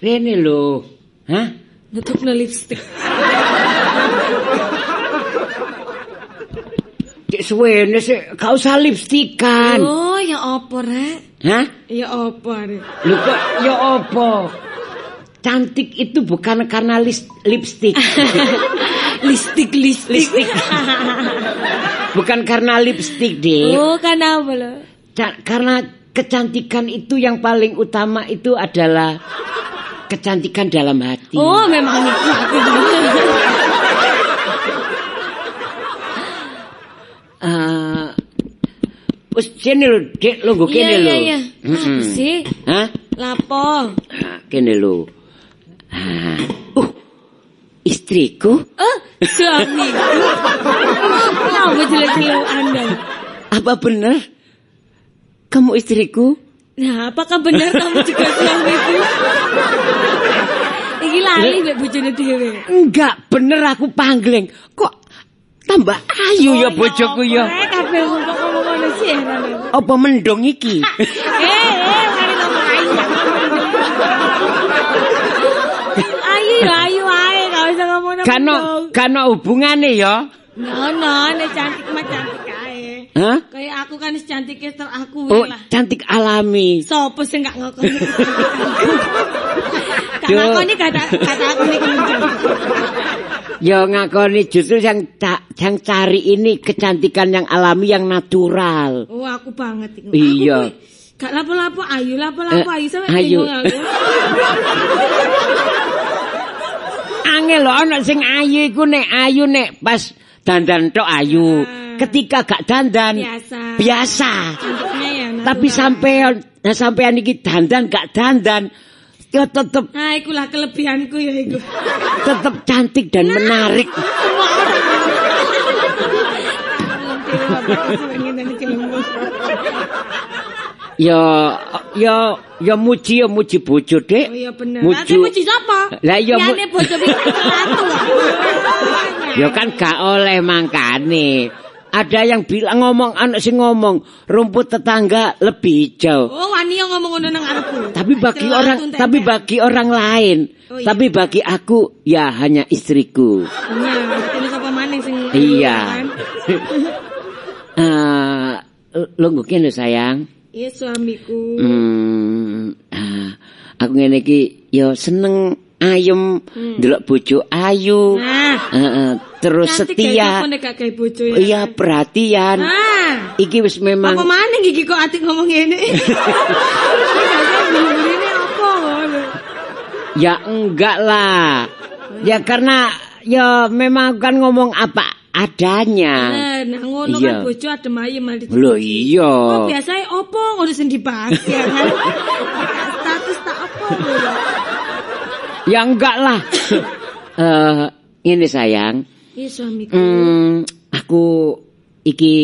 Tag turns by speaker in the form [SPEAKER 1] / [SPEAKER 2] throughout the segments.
[SPEAKER 1] Rene lho. Hah?
[SPEAKER 2] Ngetokno lipstik.
[SPEAKER 1] Cek suwene sik gak usah lipstikan.
[SPEAKER 2] Oh, ya apa, Rek?
[SPEAKER 1] Hah?
[SPEAKER 2] Ya apa, Rek?
[SPEAKER 1] Lho kok ya apa? Cantik itu bukan karena lis- lipstik.
[SPEAKER 2] Listik, listik.
[SPEAKER 1] Lipstik. bukan karena lipstik, Dik.
[SPEAKER 2] Oh, kan apa lo?
[SPEAKER 1] Ca- karena kecantikan itu yang paling utama itu adalah kecantikan dalam hati.
[SPEAKER 2] Oh, memang itu.
[SPEAKER 1] Eh, Wis kene lho, Dik, longgo kene lho.
[SPEAKER 2] Iya, iya, iya. Apa
[SPEAKER 1] Mm-mm.
[SPEAKER 2] sih?
[SPEAKER 1] Hah?
[SPEAKER 2] Lapo?
[SPEAKER 1] Ah, Kene lho. Ah. Uh. Istriku
[SPEAKER 2] Eh, suami. Kenapa jelek-jelek Anda?
[SPEAKER 1] apa benar kamu istriku?
[SPEAKER 2] Nah, apakah benar kamu juga suamiku? Iki lali mbek bojone dhewe.
[SPEAKER 1] Iya, Enggak, bener aku panggling. Kok tambah
[SPEAKER 2] Oh,
[SPEAKER 1] ayu ya bojoku ya.
[SPEAKER 2] Eh, kabeh wong kok ngomong ngono sih heran aku.
[SPEAKER 1] Apa mendong iki?
[SPEAKER 2] Eh, eh, mari ngomong ayu. gak ngomong. Ayu ya ayu ae, gak usah ngomong nang
[SPEAKER 1] Kano kano hubungane ya.
[SPEAKER 2] Ngono, nek cantik mah cantik ae.
[SPEAKER 1] Hah?
[SPEAKER 2] Kayak aku kan secantik ter aku
[SPEAKER 1] Oh,
[SPEAKER 2] lah.
[SPEAKER 1] cantik alami.
[SPEAKER 2] Sopo sing gak ngakoni? Gak
[SPEAKER 1] Yo.
[SPEAKER 2] ngakoni kata kata aku nih kenceng.
[SPEAKER 1] Ya ngakoni justru yang ca- yang cari ini kecantikan yang alami yang natural.
[SPEAKER 2] Oh aku banget iku.
[SPEAKER 1] Iya.
[SPEAKER 2] Aku kuwi Gak lapo-lapo ayu, lapo-lapo
[SPEAKER 1] Eh,
[SPEAKER 2] ayu sampe
[SPEAKER 1] ayu.
[SPEAKER 2] bingung aku.
[SPEAKER 1] Angel lho ana sing ayu iku nek ayu nek pas dandan tok ayu.
[SPEAKER 2] Ah.
[SPEAKER 1] Ketika gak dandan
[SPEAKER 2] Biasa.
[SPEAKER 1] biasa.
[SPEAKER 2] Cantiknya ya. natural.
[SPEAKER 1] Tapi sampean nah sampean iki dandan gak dandan ya tetep
[SPEAKER 2] Nah, ikulah kelebihanku ya iku.
[SPEAKER 1] tetep cantik dan menarik. Ya ya ya muji ya muji bojo, Dik.
[SPEAKER 2] Oh iya bener. Lah
[SPEAKER 1] Muju.
[SPEAKER 2] muji sapa?
[SPEAKER 1] Lah iya, mu-
[SPEAKER 2] Liyane bojo iki satu.
[SPEAKER 1] Ya kan gak oleh mangkane. Ada yang bilang ngomong anak sing ngomong rumput tetangga lebih hijau.
[SPEAKER 2] Oh, wani yang ngomong ngono nang arepku.
[SPEAKER 1] Tapi bagi
[SPEAKER 2] Celak
[SPEAKER 1] orang
[SPEAKER 2] tuntek.
[SPEAKER 1] tapi bagi orang lain.
[SPEAKER 2] kan? Oh iya.
[SPEAKER 1] Tapi bagi aku ya hanya istriku.
[SPEAKER 2] Iya, ini sapa maning sing
[SPEAKER 1] Iya.
[SPEAKER 2] kan?
[SPEAKER 1] Eh lo ngene lho, sayang.
[SPEAKER 2] Iya suamiku.
[SPEAKER 1] Mm. Hmm, ah, aku ngene iki ya seneng ayem
[SPEAKER 2] Hmm.
[SPEAKER 1] ndelok bojo ayu.
[SPEAKER 2] Nah.
[SPEAKER 1] Eh, eh, terus
[SPEAKER 2] Cantik
[SPEAKER 1] setia.
[SPEAKER 2] kayak apa nek gak kayak bojo ya.
[SPEAKER 1] Iya perhatian.
[SPEAKER 2] Nah.
[SPEAKER 1] Iki wis memang
[SPEAKER 2] Apa maning iki kok ati ngomong ngene? Ini apa
[SPEAKER 1] Nah.
[SPEAKER 2] ngono?
[SPEAKER 1] Ya enggak lah. Ya karena ya memang kan ngomong apa adanya.
[SPEAKER 2] Eh, nah ngono
[SPEAKER 1] Iya.
[SPEAKER 2] kan bojo adem ayem mari.
[SPEAKER 1] Loh iya.
[SPEAKER 2] Oh, biasanya opo ngono sing dibahas ya kan. Status tak apa ngono.
[SPEAKER 1] Ya enggak lah. Eh ini sayang.
[SPEAKER 2] Iya suamiku.
[SPEAKER 1] Hmm, aku iki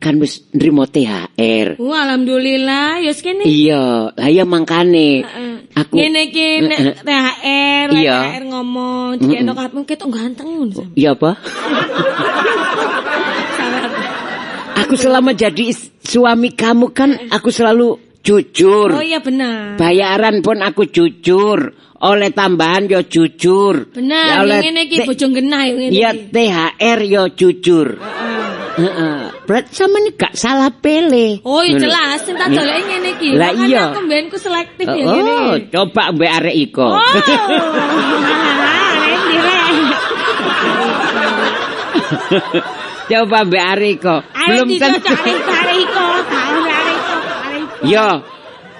[SPEAKER 1] kan wis nrimo THR.
[SPEAKER 2] Wah, alhamdulillah, ya sekene.
[SPEAKER 1] Iya, lah ya mangkane.
[SPEAKER 2] Heeh.
[SPEAKER 1] Aku
[SPEAKER 2] ngene iki nek THR, lek
[SPEAKER 1] Iya.
[SPEAKER 2] THR ngomong, dikene kabeh ketok ganteng ngono. Sam.
[SPEAKER 1] Iya apa? Aku selama jadi is- suami kamu kan aku selalu jujur.
[SPEAKER 2] Oh iya benar.
[SPEAKER 1] Bayaran pun aku jujur, oleh tambahan yo jujur.
[SPEAKER 2] Benar,
[SPEAKER 1] Ya oleh
[SPEAKER 2] ngene iki
[SPEAKER 1] te-
[SPEAKER 2] bojo genah ya ngene
[SPEAKER 1] Ya
[SPEAKER 2] iki.
[SPEAKER 1] THR yo ya, jujur.
[SPEAKER 2] Heeh.
[SPEAKER 1] Heeh. Berarti sama ini gak salah pilih.
[SPEAKER 2] Oh iya
[SPEAKER 1] Ngono.
[SPEAKER 2] jelas, cinta dolek ngene iki.
[SPEAKER 1] Lah
[SPEAKER 2] Makanya
[SPEAKER 1] iya.
[SPEAKER 2] aku mbiyen ku selektif ya ngene.
[SPEAKER 1] Oh, coba mbak arek iko.
[SPEAKER 2] Oh. Lain dire.
[SPEAKER 1] coba mbak arek iko.
[SPEAKER 2] Belum tentu.
[SPEAKER 1] tentu-
[SPEAKER 2] Arek iko, tahu arek iko, arek iko.
[SPEAKER 1] Yo, nge-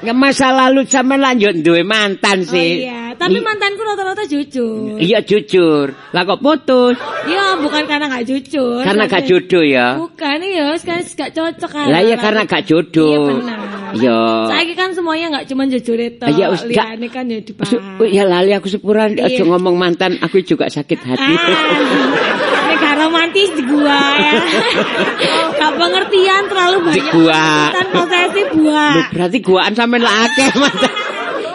[SPEAKER 1] Iya. Ya, masa lalu sama lanjut duwe mantan
[SPEAKER 2] Oh
[SPEAKER 1] sih.
[SPEAKER 2] iya, tapi
[SPEAKER 1] I-
[SPEAKER 2] mantanku rata-rata jujur.
[SPEAKER 1] Iya jujur. Lah kok putus?
[SPEAKER 2] Iya, bukan karena gak jujur.
[SPEAKER 1] Karena
[SPEAKER 2] Tapi-
[SPEAKER 1] gak jodoh ya.
[SPEAKER 2] iya, Bukan iya, sekarang gak cocok kan.
[SPEAKER 1] Lah ya karena gak
[SPEAKER 2] Iya
[SPEAKER 1] jodoh.
[SPEAKER 2] benar.
[SPEAKER 1] Iya.
[SPEAKER 2] Saiki kan semuanya gak cuma jujur itu.
[SPEAKER 1] Iya, wis, gak-
[SPEAKER 2] Liyane kan ya
[SPEAKER 1] Su-
[SPEAKER 2] dibahas.
[SPEAKER 1] oh, Ya lali aku sepuran
[SPEAKER 2] Iya.
[SPEAKER 1] aja ngomong mantan aku juga sakit hati.
[SPEAKER 2] Ah, ini gak romantis di gua ya. gak pengertian terlalu
[SPEAKER 1] Di
[SPEAKER 2] banyak.
[SPEAKER 1] gua.
[SPEAKER 2] Kan posesif gua.
[SPEAKER 1] Loh, berarti guaan sampean lah akeh mantan.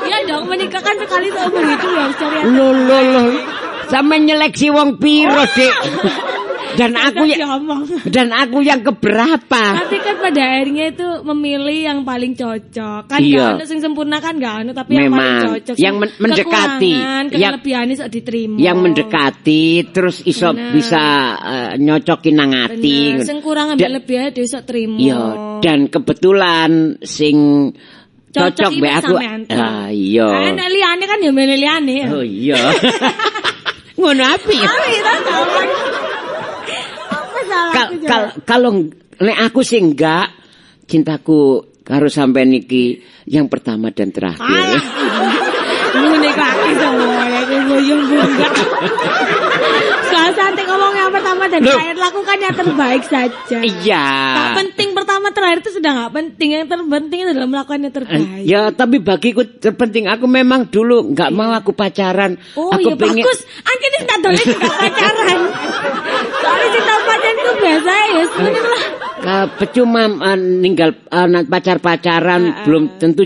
[SPEAKER 2] Iya dong, menikah kan sekali seumur hidup ya harus cari yang
[SPEAKER 1] Loh loh loh. Sampe nyeleksi wong piro, Dik? Dan aku
[SPEAKER 2] Tetap
[SPEAKER 1] ya
[SPEAKER 2] diomong.
[SPEAKER 1] dan aku yang keberapa?
[SPEAKER 2] Tapi kan pada akhirnya itu memilih yang paling cocok. Kan
[SPEAKER 1] Iya.
[SPEAKER 2] gak ada yang sempurna kan gak ada tapi yang
[SPEAKER 1] Memang.
[SPEAKER 2] paling cocok.
[SPEAKER 1] Yang men- mendekati.
[SPEAKER 2] Kekurangan,
[SPEAKER 1] Yang-
[SPEAKER 2] kelebihannya sok diterima.
[SPEAKER 1] Yang mendekati terus iso
[SPEAKER 2] Bener.
[SPEAKER 1] bisa eh, nyocokin nang ati.
[SPEAKER 2] Bener, sing kurang
[SPEAKER 1] Da-
[SPEAKER 2] ambil lebih aja sok terima.
[SPEAKER 1] Iya, dan kebetulan sing cocok
[SPEAKER 2] iki
[SPEAKER 1] mbek aku.
[SPEAKER 2] sampean. Ah,
[SPEAKER 1] Ah, iya.
[SPEAKER 2] nek liyane kan ya milih liyane ya.
[SPEAKER 1] Oh iya. Ngono ya? api.
[SPEAKER 2] Tapi tak tahu. Apa salah
[SPEAKER 1] Kal- kal- kalau nek aku sih enggak cintaku karo sampean iki yang pertama dan terakhir.
[SPEAKER 2] Ngene kok aku semua nek boyong ya, bunga. Soal santai ngomong yang pertama dan
[SPEAKER 1] Loh.
[SPEAKER 2] terakhir lakukan yang terbaik saja.
[SPEAKER 1] Iya.
[SPEAKER 2] Tak penting pertama terakhir itu sudah nggak penting. Yang terpenting adalah melakukan yang terbaik.
[SPEAKER 1] Ya, tapi bagiku terpenting aku memang dulu nggak mau aku pacaran.
[SPEAKER 2] Oh iya
[SPEAKER 1] aku
[SPEAKER 2] bagus. Angin ini tak dolen juga pacaran. Soalnya cinta pacaran itu biasa ya.
[SPEAKER 1] Eh,
[SPEAKER 2] Sebenarnya lah.
[SPEAKER 1] Ka- percuma eh, ninggal eh, pacar-pacaran belum tentu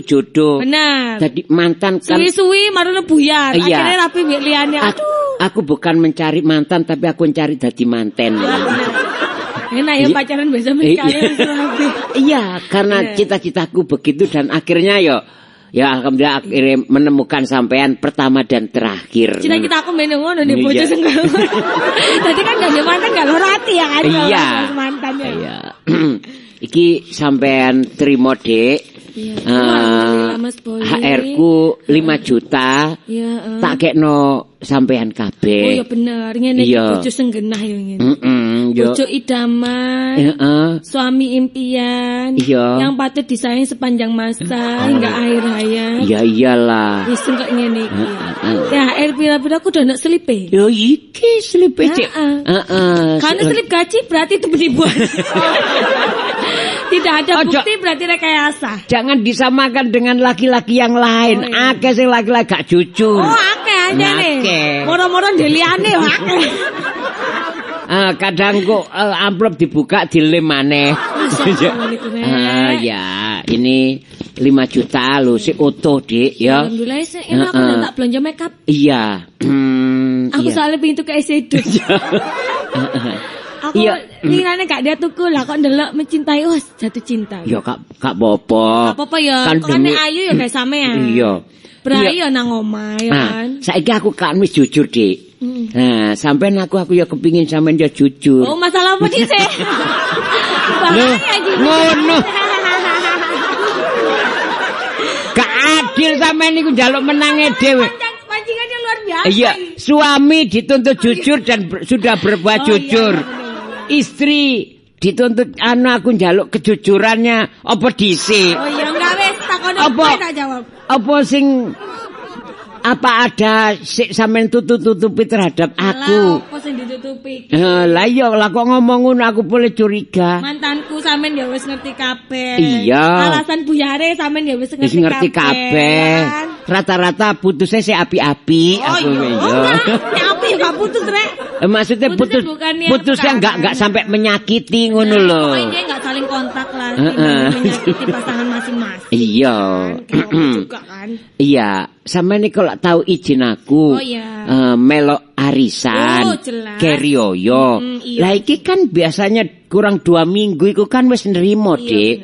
[SPEAKER 2] Ah,
[SPEAKER 1] jodoh.
[SPEAKER 2] Benar.
[SPEAKER 1] oh. Jadi mantan kan
[SPEAKER 2] Suwi-suwi baru buyar.
[SPEAKER 1] Iya.
[SPEAKER 2] Akhirnya rapi mbak liane.
[SPEAKER 1] aku,
[SPEAKER 2] ya? Aduh.
[SPEAKER 1] aku bukan mencari mantan tapi aku mencari dadi manten.
[SPEAKER 2] Ah. Enak ya pacaran biasa mencari
[SPEAKER 1] Iya. Iya, karena cita-citaku begitu dan akhirnya yo ya alhamdulillah akhirnya menemukan sampean pertama dan terakhir.
[SPEAKER 2] Cita kita aku main ngono nih bojo
[SPEAKER 1] Iya.
[SPEAKER 2] senggal. Tadi kan gak ada mantan gak lor hati ya kan. kalau
[SPEAKER 1] Iya.
[SPEAKER 2] harus Mantan ya.
[SPEAKER 1] Iya. Iki sampean terima Dek.
[SPEAKER 2] Iya.
[SPEAKER 1] Eh,
[SPEAKER 2] Alhamdulillah, Mas Boy.
[SPEAKER 1] HR ku 5 juta.
[SPEAKER 2] Iya. eh.
[SPEAKER 1] Tak kekno
[SPEAKER 2] Oh
[SPEAKER 1] sampean
[SPEAKER 2] ya
[SPEAKER 1] kabeh.
[SPEAKER 2] bener, ngene
[SPEAKER 1] Iya.
[SPEAKER 2] iki bojo senggenah ya ngene.
[SPEAKER 1] Heeh, yo.
[SPEAKER 2] Bojo
[SPEAKER 1] Eh,
[SPEAKER 2] idaman,
[SPEAKER 1] Heeh.
[SPEAKER 2] suami impian,
[SPEAKER 1] Iya.
[SPEAKER 2] yang patut disayang sepanjang masa hingga akhir hayat.
[SPEAKER 1] Ya iyalah.
[SPEAKER 2] Wis kok ngene
[SPEAKER 1] Iya.
[SPEAKER 2] iki.
[SPEAKER 1] Heeh.
[SPEAKER 2] Ya, air pira-pira aku udah nak selipe.
[SPEAKER 1] Yo iki slip Cek.
[SPEAKER 2] Heeh.
[SPEAKER 1] Heeh.
[SPEAKER 2] Karena selip gaji berarti itu penipuan. Tidak ada
[SPEAKER 1] Ojo.
[SPEAKER 2] bukti berarti rekayasa.
[SPEAKER 1] Jangan disamakan dengan laki-laki yang lain.
[SPEAKER 2] Oh, iya.
[SPEAKER 1] Akeh sing laki-laki gak jujur.
[SPEAKER 2] Oh, akeh aja
[SPEAKER 1] Akeh.
[SPEAKER 2] nih. Moro-moro ndeliane yo akeh.
[SPEAKER 1] Ah, kadang kok eh, amplop dibuka dilem maneh.
[SPEAKER 2] Masya Allah, Niku, Nek.
[SPEAKER 1] Iya. Ah, ya, ini 5 juta lo si utuh, Dik, ya.
[SPEAKER 2] Alhamdulillah sih, ini aku
[SPEAKER 1] Heeh.
[SPEAKER 2] udah tak belanja make up.
[SPEAKER 1] Iya. Hmm,
[SPEAKER 2] Aku
[SPEAKER 1] iya.
[SPEAKER 2] soalnya pengen tuku es sedo. Aku
[SPEAKER 1] Iya.
[SPEAKER 2] lirane gak dia tuku lah kok ndelok mencintai wah jatuh cinta.
[SPEAKER 1] Ya kak kak bopo.
[SPEAKER 2] Apa-apa ya,
[SPEAKER 1] Kan
[SPEAKER 2] kok ane
[SPEAKER 1] demi-
[SPEAKER 2] ayu ya kayak sampean.
[SPEAKER 1] Iya.
[SPEAKER 2] Berai ya nang omah ya
[SPEAKER 1] Nah,
[SPEAKER 2] kan.
[SPEAKER 1] Ah, saiki aku kan wis jujur, Dik. Nah, sampean aku aku ya kepingin sampean ya jujur.
[SPEAKER 2] Oh masalah apa sih sih?
[SPEAKER 1] Loh,
[SPEAKER 2] Bahaya gitu.
[SPEAKER 1] ngono. Gak adil sampean niku njaluk menange Eh, dhewe.
[SPEAKER 2] Pancang- Pancingannya luar biasa.
[SPEAKER 1] Iya, suami dituntut jujur dan ber- sudah berbuat
[SPEAKER 2] iya. Oh, iya,
[SPEAKER 1] jujur.
[SPEAKER 2] bener.
[SPEAKER 1] Istri dituntut anu aku njaluk kejujurannya apa dhisik?
[SPEAKER 2] Oh iya enggak wes takon
[SPEAKER 1] Apa?
[SPEAKER 2] aku tak jawab.
[SPEAKER 1] Apa sing apa ada sik sampean tutup-tutupi terhadap aku?
[SPEAKER 2] Alah, apa sing ditutupi?
[SPEAKER 1] Eh, lah iya lah kok ngomong ngono aku boleh curiga.
[SPEAKER 2] Mantanku sampean ya wis ngerti kabeh.
[SPEAKER 1] Iya.
[SPEAKER 2] Alasan buyare sampean ya wis
[SPEAKER 1] Wis
[SPEAKER 2] ngerti,
[SPEAKER 1] ngerti kabeh.
[SPEAKER 2] kan?
[SPEAKER 1] Rata-rata putusnya si api-api
[SPEAKER 2] Oh iya,
[SPEAKER 1] aku iya.
[SPEAKER 2] oh, enggak. Aku juga putus, Rek.
[SPEAKER 1] Eh, Maksudnya putus
[SPEAKER 2] Putusnya bukannya
[SPEAKER 1] putusnya enggak
[SPEAKER 2] perkawinan.
[SPEAKER 1] enggak sampai menyakiti ngono lho.
[SPEAKER 2] Nah, Pokoknya dia nggak saling kontak lah,
[SPEAKER 1] Heeh.
[SPEAKER 2] timbang menyakiti pasangan masing-masing.
[SPEAKER 1] Iya.
[SPEAKER 2] Kan, kawan juga
[SPEAKER 1] Hmm.
[SPEAKER 2] kan.
[SPEAKER 1] Iya, sama ini kalau tahu izin aku,
[SPEAKER 2] Oh, iya.
[SPEAKER 1] eh, melok arisan,
[SPEAKER 2] Oh, jelas.
[SPEAKER 1] kerioyo.
[SPEAKER 2] Mm, iya.
[SPEAKER 1] Lah iki kan biasanya kurang dua minggu, iku kan wis nerimo,
[SPEAKER 2] Iya,
[SPEAKER 1] dik.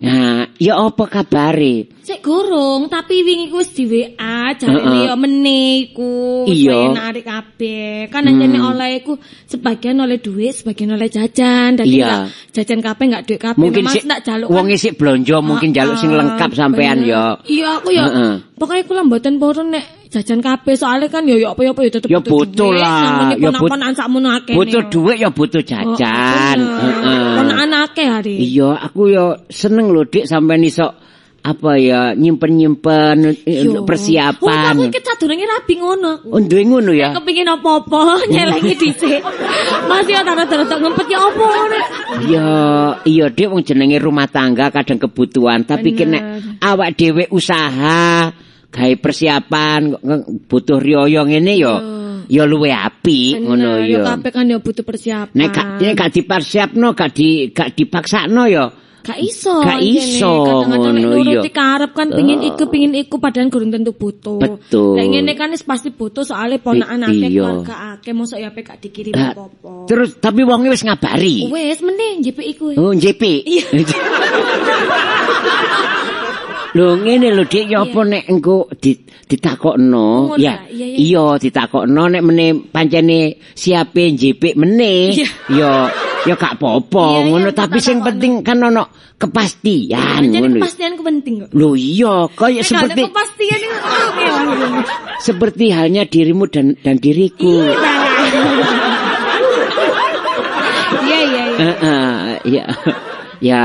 [SPEAKER 1] Nah, ya apa kabare?
[SPEAKER 2] Cek gorong, tapi wingi ku wis di WA, jare
[SPEAKER 1] Heeh.
[SPEAKER 2] liya meneh ku wis
[SPEAKER 1] Iya. Hmm.
[SPEAKER 2] pengen narik kabeh. Kan anjene oleh ku sebagian oleh duit, sebagian oleh jajan, dadi
[SPEAKER 1] Iya.
[SPEAKER 2] nggak- jajan kabeh nggak duit kabeh.
[SPEAKER 1] Mungkin
[SPEAKER 2] Memang
[SPEAKER 1] sik
[SPEAKER 2] tak jaluk kan.
[SPEAKER 1] wong sik blonjo, mungkin jaluk sing
[SPEAKER 2] Heeh,
[SPEAKER 1] lengkap sampean
[SPEAKER 2] bener.
[SPEAKER 1] ya.
[SPEAKER 2] Iya aku ya.
[SPEAKER 1] Heeh.
[SPEAKER 2] Pokoknya aku mboten purun nek jajan kabeh soalnya kan ya ya apa ya apa ya tetep
[SPEAKER 1] Ya butuh lah,
[SPEAKER 2] Ya
[SPEAKER 1] ya but-
[SPEAKER 2] ponakan sakmono akeh. Oh,
[SPEAKER 1] Butuh duit ya butuh jajan. Heeh.
[SPEAKER 2] Ponakan akeh hari.
[SPEAKER 1] Iya, aku ya seneng lho dik sampean iso apa ya nyimpen-nyimpen eh,
[SPEAKER 2] Yo.
[SPEAKER 1] untuk
[SPEAKER 2] Oh,
[SPEAKER 1] persiapan.
[SPEAKER 2] aku iki cadurunge rabi ngono.
[SPEAKER 1] Oh, duwe ngono ya.
[SPEAKER 2] Kepingin apa-apa nyelengi dhisik. Masih ya tanda-tanda ngempet ya apa nek.
[SPEAKER 1] Iya, iya Dik wong jenenge rumah tangga kadang kebutuhan, tapi ki nek awak dhewe usaha, gawe persiapan nge- nge- butuh riyo ngene ya ya luwe apik ngono
[SPEAKER 2] Bener, ya
[SPEAKER 1] ya.
[SPEAKER 2] kabeh kan ya butuh persiapan.
[SPEAKER 1] Nek gak nek gak dipersiapno, gak di gak dipaksakno ya
[SPEAKER 2] Gak iso.
[SPEAKER 1] Gak iso,
[SPEAKER 2] Kadang-kadang nek
[SPEAKER 1] ngono,
[SPEAKER 2] nuruti
[SPEAKER 1] iya.
[SPEAKER 2] karep kan pengin iku pengin iku padahal gurung tentu butuh.
[SPEAKER 1] Betul.
[SPEAKER 2] Nek ngene kan wis pasti butuh soalnya ponakan
[SPEAKER 1] I-
[SPEAKER 2] akeh
[SPEAKER 1] iya. Ah.
[SPEAKER 2] keluarga akeh mosok ya ape gak dikirim
[SPEAKER 1] Lah,
[SPEAKER 2] apa-apa.
[SPEAKER 1] Terus tapi wongnya wis ngabari.
[SPEAKER 2] Wes mending JP iku. Iya.
[SPEAKER 1] Oh, JP. Lho ngene lho Dik ya apa nek engko di- ditakokno
[SPEAKER 2] Oh, Ngono
[SPEAKER 1] ya
[SPEAKER 2] ta, iya, iya.
[SPEAKER 1] iya ditakokno nek meneh pancene siape njipik meneh
[SPEAKER 2] Iya.
[SPEAKER 1] ya ya gak
[SPEAKER 2] Iya,
[SPEAKER 1] apa-apa
[SPEAKER 2] iya,
[SPEAKER 1] ngono
[SPEAKER 2] tak
[SPEAKER 1] tapi sing
[SPEAKER 2] takokno.
[SPEAKER 1] penting kan ono kepastian
[SPEAKER 2] Jadi
[SPEAKER 1] ngono.
[SPEAKER 2] kepastianku penting kok.
[SPEAKER 1] Lho iya
[SPEAKER 2] Nek
[SPEAKER 1] kaya
[SPEAKER 2] gak ada
[SPEAKER 1] seperti
[SPEAKER 2] kepastian iku oke lah.
[SPEAKER 1] seperti halnya dirimu dan dan diriku.
[SPEAKER 2] Iya iya iya.
[SPEAKER 1] Heeh, ya ya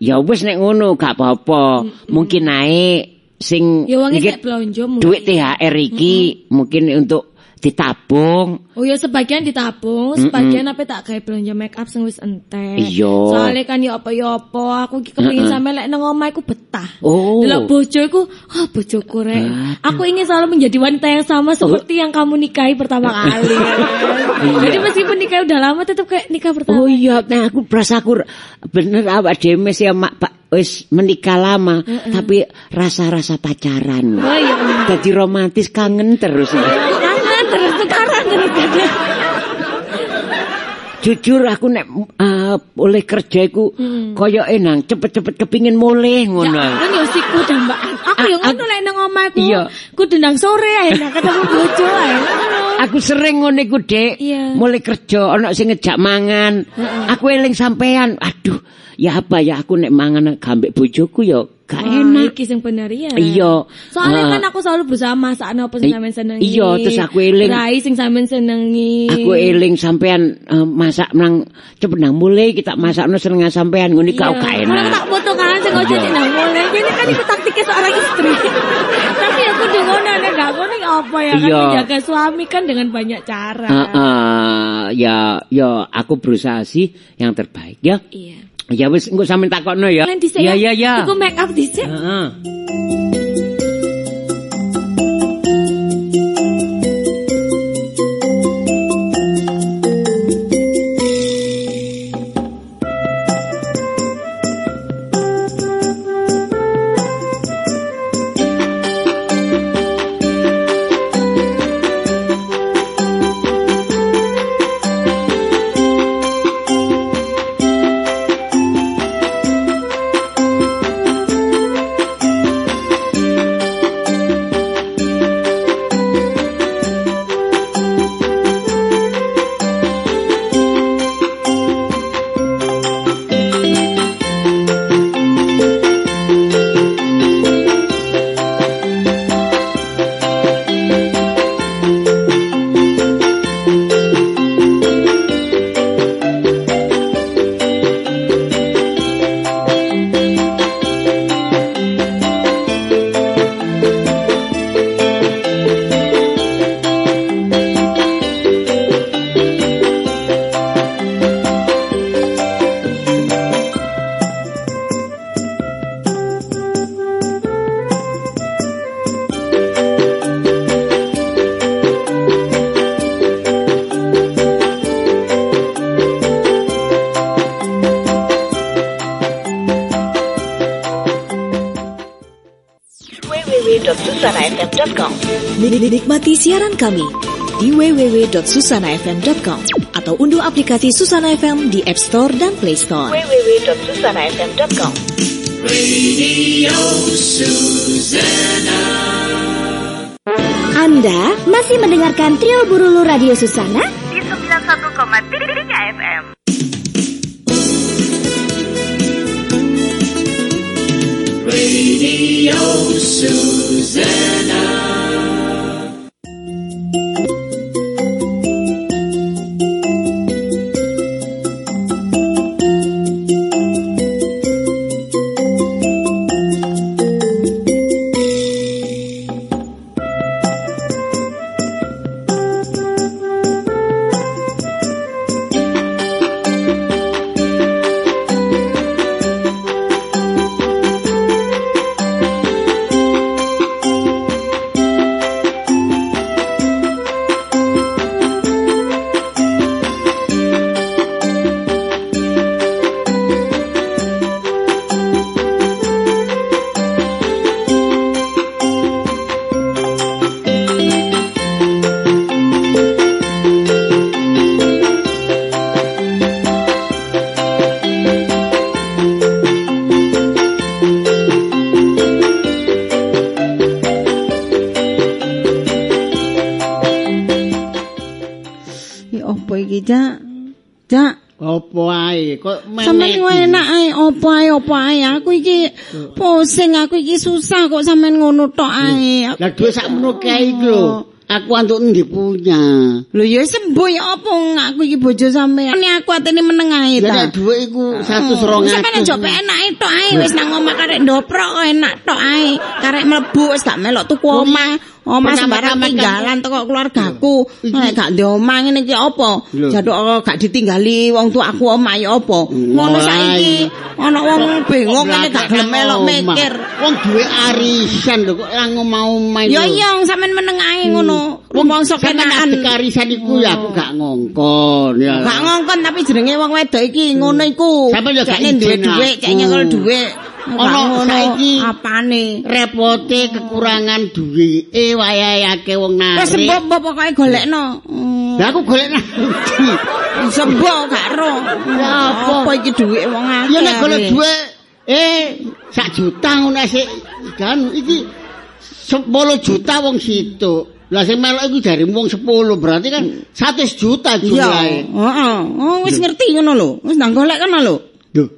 [SPEAKER 1] ya wis nek ngono gak apa-apa. Mungkin naik sing
[SPEAKER 2] Ya wonge
[SPEAKER 1] dikit-
[SPEAKER 2] nek blonjo mungkin.
[SPEAKER 1] duit THR iki mungkin untuk ditabung
[SPEAKER 2] Oh ya sebagian ditabung, sebagian apa tak gawe belanja make up sing wis entek.
[SPEAKER 1] Iya.
[SPEAKER 2] Soale kan ya apa-ya apa, aku iki kepengin sampe lek nang omah iku betah.
[SPEAKER 1] Oh.
[SPEAKER 2] Delok bojo iku, ah bojoku rek. Aku ingin selalu menjadi wanita yang
[SPEAKER 1] Oh.
[SPEAKER 2] sama seperti yang kamu nikahi pertama kali. Jadi meskipun nikah udah lama tetap kayak nikah pertama.
[SPEAKER 1] Iya. oh iya nah aku berasa aku r- bener awak dhewe mes ya mak pak wis menikah lama tapi rasa-rasa pacaran
[SPEAKER 2] Oh iya.
[SPEAKER 1] jadi romantis kangen terus
[SPEAKER 2] Kangen terus sekarang terus kangen.
[SPEAKER 1] jujur aku nek eh, oleh kerja iku koyo enang cepet-cepet kepingin mulai ngono
[SPEAKER 2] Kan yo siku dambakan. Aku yo
[SPEAKER 1] A-
[SPEAKER 2] ngono lek nang omah aku.
[SPEAKER 1] Ah, Iya.
[SPEAKER 2] Kudu nang sore ae nang ketemu bojo ae.
[SPEAKER 1] Aku sering ngono iku, Dik.
[SPEAKER 2] Iya.
[SPEAKER 1] Mulai kerja ana sing ngejak mangan.
[SPEAKER 2] Heeh.
[SPEAKER 1] Aku eling sampean. Aduh, ya apa ya aku nek mangan gambek bojoku ya gak
[SPEAKER 2] Wah,
[SPEAKER 1] enak.
[SPEAKER 2] Ah, Iki sing bener ya.
[SPEAKER 1] Iya.
[SPEAKER 2] Soalnya
[SPEAKER 1] Ah.
[SPEAKER 2] kan aku selalu berusaha masak apa sing
[SPEAKER 1] I-
[SPEAKER 2] sampean senengi.
[SPEAKER 1] iya, terus aku eling.
[SPEAKER 2] Rai sing sampean senengi.
[SPEAKER 1] Aku eling sampean eh, masak nang cepet nang mulai kita masakno seneng sampean ngono
[SPEAKER 2] Iya.
[SPEAKER 1] kau gak
[SPEAKER 2] Kalau aku
[SPEAKER 1] enak.
[SPEAKER 2] tak foto kan sing ojo
[SPEAKER 1] Iya.
[SPEAKER 2] nang mulai. Ini kan iku taktiknya seorang istri. Tapi aku kudu ngono nek gak ngono ya apa ya kan
[SPEAKER 1] Iya. Ah,
[SPEAKER 2] menjaga suami kan dengan banyak cara.
[SPEAKER 1] Heeh, ya ya aku berusaha sih yang terbaik ya.
[SPEAKER 2] Iya.
[SPEAKER 1] Ya wis engko sampean takokno ya.
[SPEAKER 2] Lan dhisik
[SPEAKER 1] Ya ya ya.
[SPEAKER 2] Iku make up dhisik.
[SPEAKER 1] Heeh.
[SPEAKER 3] www.susanafm.com. Nik- Nikmati siaran kami di www.susanafm.com atau unduh aplikasi Susana FM di App Store dan Play Store. www.susanafm.com.
[SPEAKER 4] Anda masih mendengarkan Trio Burulu Radio Susana?
[SPEAKER 5] opo iki, Cak? Cak,
[SPEAKER 6] Opo ae kok
[SPEAKER 5] sampean
[SPEAKER 6] meneh.
[SPEAKER 5] ku enak ae opo ae opo ae. Aku iki pusing, aku iki susah kok sampean ngono tok ae.
[SPEAKER 6] Lah dhuwit sakmono kae iki lho. Aku antuk endi punya.
[SPEAKER 5] Lho ya sembuh ya opo aku iki bojo sampean. Ini aku atene meneng ae
[SPEAKER 6] Lah
[SPEAKER 5] ta.
[SPEAKER 6] nek dhuwit iku
[SPEAKER 5] Hmm, Sampeyan
[SPEAKER 6] 100 200.
[SPEAKER 5] njok enake tok ae wis nang omah karek ndoprok kok enak tok ae. Karek mlebu wis gak melok tuku
[SPEAKER 6] Oh,
[SPEAKER 5] omah. Omah sembarang
[SPEAKER 6] pertama-tama kan-
[SPEAKER 5] tinggalan teko keluargaku. Nek gak ndek omah ngene iki apa?
[SPEAKER 6] Lho.
[SPEAKER 5] Jaduk oh, gak ditinggali wong tuaku omah ya apa? Ngono
[SPEAKER 6] Mulai.
[SPEAKER 5] saiki ana wong bengong ngene gak gelem
[SPEAKER 6] Blak-blak
[SPEAKER 5] melok
[SPEAKER 6] omah.
[SPEAKER 5] mikir.
[SPEAKER 6] Wong dhuwit arisan lho kok lang mau main.
[SPEAKER 5] Ya iya sampean meneng
[SPEAKER 6] Hmm.
[SPEAKER 5] ae ngono. Rumangsa
[SPEAKER 6] kenaan
[SPEAKER 5] kenaan.
[SPEAKER 6] arisan iku ya aku gak ngongkon ya.
[SPEAKER 5] Gak ngongkon tapi jenenge wong wedok iki ngono iku.
[SPEAKER 6] Sampeyan ya gak
[SPEAKER 5] Cekne duwe
[SPEAKER 6] izin
[SPEAKER 5] dhuwit,
[SPEAKER 6] aku.
[SPEAKER 5] cek nyekel dhuwit. Gak
[SPEAKER 6] Ono
[SPEAKER 5] ngono.
[SPEAKER 6] saiki.
[SPEAKER 5] apane?
[SPEAKER 6] Repote kekurangan duwe e wayahe wong narik.
[SPEAKER 5] Wis sembuh mbok pokoke golekno.
[SPEAKER 6] Lah aku golek nang ndi?
[SPEAKER 5] Hmm, Sembuh gak ro.
[SPEAKER 6] Ya apa?
[SPEAKER 5] Apa iki dhuwit wong akeh.
[SPEAKER 6] Ya nek golek
[SPEAKER 5] ae.
[SPEAKER 6] dhuwit eh sak juta ngono sik kan iki 10 juta wong situ. Lah sing melok iku dari wong 10 berarti kan 100 juta
[SPEAKER 5] Iya.
[SPEAKER 6] jumlahe.
[SPEAKER 5] Heeh. Oh wis ngerti ngono lho. Wis nang golek kan lho.
[SPEAKER 6] Duh.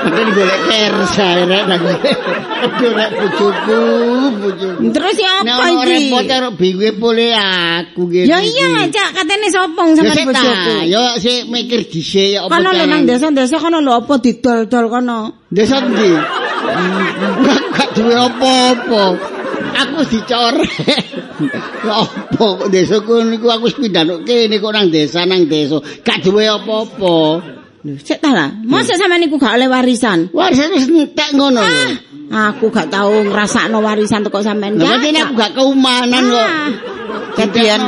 [SPEAKER 6] Padahal golek kersa rek nang. Aduh rek bojoku, bojoku.
[SPEAKER 5] Terus ya
[SPEAKER 6] Nek
[SPEAKER 5] apa
[SPEAKER 6] ono
[SPEAKER 5] iki?
[SPEAKER 6] repot karo bingung boleh aku gitu.
[SPEAKER 5] Ya iya, Cak, katene sopong
[SPEAKER 6] Ya
[SPEAKER 5] sama
[SPEAKER 6] sik ta,
[SPEAKER 5] bojoku.
[SPEAKER 6] yo sik mikir dhisik ya apa
[SPEAKER 5] Kono lho
[SPEAKER 6] carane.
[SPEAKER 5] nang desa-desa kono lho apa didol-dol kono.
[SPEAKER 6] Desa ndi? Gak gak duwe apa-apa. Aku wis dicorek. Ya apa kok desa ku niku aku wis pindah nuk kene kok nang desa nang desa. Gak duwe apa-apa.
[SPEAKER 5] Lho, sik ta lah.
[SPEAKER 6] Hmm.
[SPEAKER 5] Mosok sampean niku gak oleh warisan.
[SPEAKER 6] Warisan wis
[SPEAKER 5] Ah,
[SPEAKER 6] entek ngono lho.
[SPEAKER 5] Aku gak tau ngrasakno warisan teko sampean. Ya,
[SPEAKER 6] Lah mesti aku
[SPEAKER 5] Cak.
[SPEAKER 6] gak keumanan kok.
[SPEAKER 5] Ah, Kebian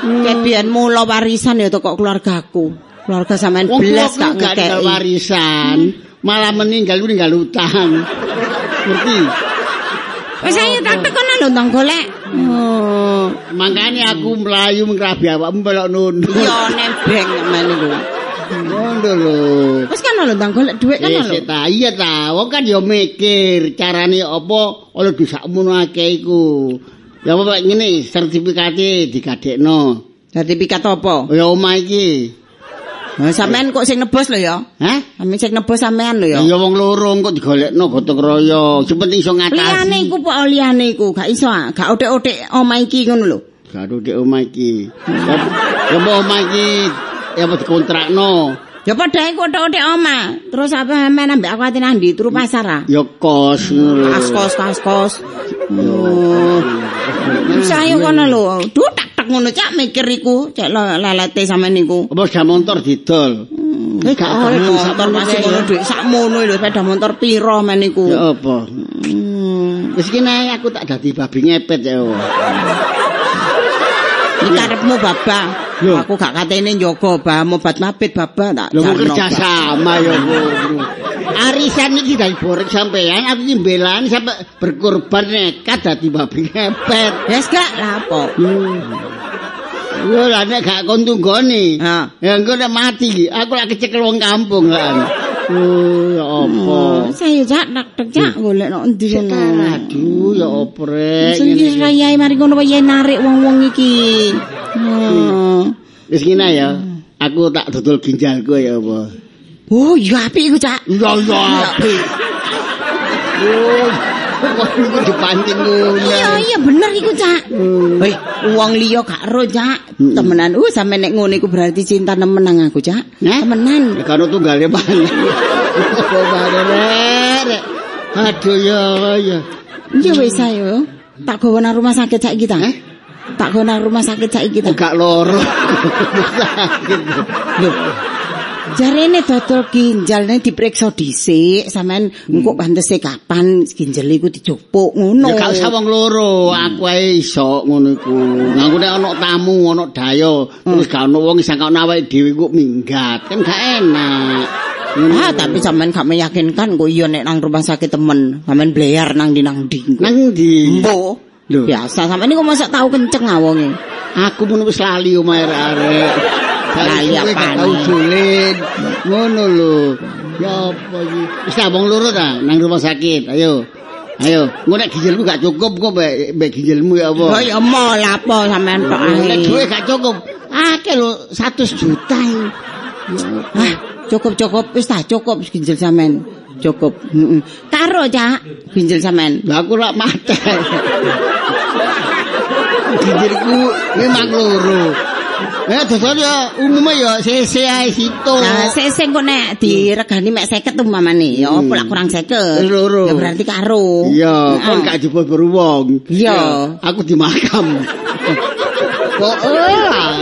[SPEAKER 5] Kebian mula warisan ya toko keluargaku. Keluarga sampean
[SPEAKER 6] Wong
[SPEAKER 5] belas
[SPEAKER 6] tuaku
[SPEAKER 5] gak
[SPEAKER 6] gak ninggal
[SPEAKER 5] ngekei.
[SPEAKER 6] warisan, malah meninggal ku ninggal utang. Ngerti?
[SPEAKER 5] Wis ayo tak tekono lho ndang golek. Oh,
[SPEAKER 6] Makanya aku melayu ngrabi awakmu belok nunduk.
[SPEAKER 5] iya nebeng sampean niku.
[SPEAKER 6] Ngono lho.
[SPEAKER 5] Wis kan lho ndang golek dhuwit kan
[SPEAKER 6] Eh,
[SPEAKER 5] lho.
[SPEAKER 6] sik ta, iya ta, wong kan yo mikir carane apa oleh dosakmu no akeh iku. Ya apa Pak, ngene sertifikate digadekno. Oh,
[SPEAKER 5] Sertifikat apa?
[SPEAKER 6] Ya omah iki.
[SPEAKER 5] Nah, Sampean kok sing nebus lho ya.
[SPEAKER 6] Hah?
[SPEAKER 5] Sampeyan sing nebus sampean lho ya.
[SPEAKER 6] Ya wong lorong kok digolekno gotong royong. Sing penting iso
[SPEAKER 5] Liyane
[SPEAKER 6] ngatasi.
[SPEAKER 5] iku pok liyane iku gak iso ah. gak otek-otek omah iki ngono lho.
[SPEAKER 6] Garu dek omah iki. Ya- Ya apa omah iki ya apa dikontrakno.
[SPEAKER 5] Ya padha iku otek-otek omah. Terus apa sampean ambek aku ati nang ndi turu pasar ah.
[SPEAKER 6] Ya kos ngono lho.
[SPEAKER 5] Kaskos, kaskos. Oh. Saya kono lho. Duh tak tak ngono cak mikir iku, cek lo- lelete sampean niku.
[SPEAKER 6] Apa jam motor didol?
[SPEAKER 5] Eh gak
[SPEAKER 6] oleh
[SPEAKER 5] oleh motor
[SPEAKER 6] motor
[SPEAKER 5] masih
[SPEAKER 6] kaya.
[SPEAKER 5] kono dhuwit sakmono lho sepeda motor piro men niku.
[SPEAKER 6] Ya apa?
[SPEAKER 5] Hmm.
[SPEAKER 6] Wis kene aku tak dadi babi ngepet ya. Allah.
[SPEAKER 5] Iki karepmu baba.
[SPEAKER 6] Lho.
[SPEAKER 5] Aku gak katene njogo ba mobat mabit baba tak.
[SPEAKER 6] Lho kok
[SPEAKER 5] jarno,
[SPEAKER 6] kerja
[SPEAKER 5] Ba.
[SPEAKER 6] sama ya ngono. Arisan iki dari borek sampean aku iki mbelani sampe berkorban nekat dadi babi ngepet.
[SPEAKER 5] Wes gak lapo.
[SPEAKER 6] Lho lah nek gak kon tunggoni.
[SPEAKER 5] Ha.
[SPEAKER 6] Ya engko nek mati iki, aku lak kecekel wong kampung kan. Oh ya apa.
[SPEAKER 5] Saya cak tak tak Hmm. cak golek nok endi ngono. Eh,
[SPEAKER 6] Sekarang aduh ya apa rek.
[SPEAKER 5] Sing rayai mari ngono wayahe narik wong-wong iki. Hmm.
[SPEAKER 6] Wis kene ya. Aku tak dodol ginjalku ya apa.
[SPEAKER 5] Oh, iya apik iku, Cak.
[SPEAKER 6] Ya ya apik. Oh, kok iku dipancing ngono.
[SPEAKER 5] Iya, iya bener iku, Cak.
[SPEAKER 6] Hmm.
[SPEAKER 5] Woi, wong liya gak ero, Cak. Temenan. Uh, sampe nek ngono iku berarti cinta nemen nang aku, Cak.
[SPEAKER 6] Nah.
[SPEAKER 5] Temenan.
[SPEAKER 6] Ya karo tunggale panen. Barek. Aduh ya ya.
[SPEAKER 5] Iya wis ayo. Tak gawa nang rumah sakit saiki ta.
[SPEAKER 6] Eh?
[SPEAKER 5] Tak gawa nang rumah sakit saiki ta.
[SPEAKER 6] Gak loro. Sakit.
[SPEAKER 5] Lho. Jarene dodol ginjalne diperiksa dhisik, sampean engko pantese kapan ginjal iku dijupuk ngono.
[SPEAKER 6] Hmm. Ya gak usah wong loro, aku ae iso ngono iku. Nganggo nek ana tamu, ana daya, terus gak ono wong sing kok awake dhewe kok minggat, kan gak enak. Ngono.
[SPEAKER 5] Ah, tapi sampean gak meyakinkan kok iya nek nang rumah sakit temen, sampean blear nang di nang di.
[SPEAKER 6] Nang ndi?
[SPEAKER 5] Mbo.
[SPEAKER 6] Lho.
[SPEAKER 5] Biasa sampean niku mosok tau kenceng ah, awonge.
[SPEAKER 6] Aku mun wis lali omahe arek.
[SPEAKER 5] Lali
[SPEAKER 6] Lali
[SPEAKER 5] apane?
[SPEAKER 6] Tau sulit. Ngono lho. Ya apa iki? Wis tak wong loro ta nang rumah sakit. Ayo. Ayo, engko nek ginjalmu gak cukup kok mbek mbek ginjalmu ya apa?
[SPEAKER 5] Oh ya mau lapo sampean tok
[SPEAKER 6] Nek
[SPEAKER 5] ae.
[SPEAKER 6] duwe gak cukup, Akeh lho 100 juta. iki. Ya apa?
[SPEAKER 5] Hah, cukup cukup Ah, wis tak cukup ginjal sampean. Cukup. Heeh. Karo Cak, ginjal sampean.
[SPEAKER 6] Lah aku lak mate. Ginjilku memang loro. Ya dosan ya umumnya ya sese ae situ.
[SPEAKER 5] Nah, sik sing kok nek diregani mek 50 umpamane ya
[SPEAKER 6] Oh. Hmm.
[SPEAKER 5] apa lah kurang 50.
[SPEAKER 6] Loro.
[SPEAKER 5] Ya berarti karo.
[SPEAKER 6] Iya,
[SPEAKER 5] Heeh.
[SPEAKER 6] kon gak jebol baru wong.
[SPEAKER 5] Iya.
[SPEAKER 6] Aku dimakam. Kok ora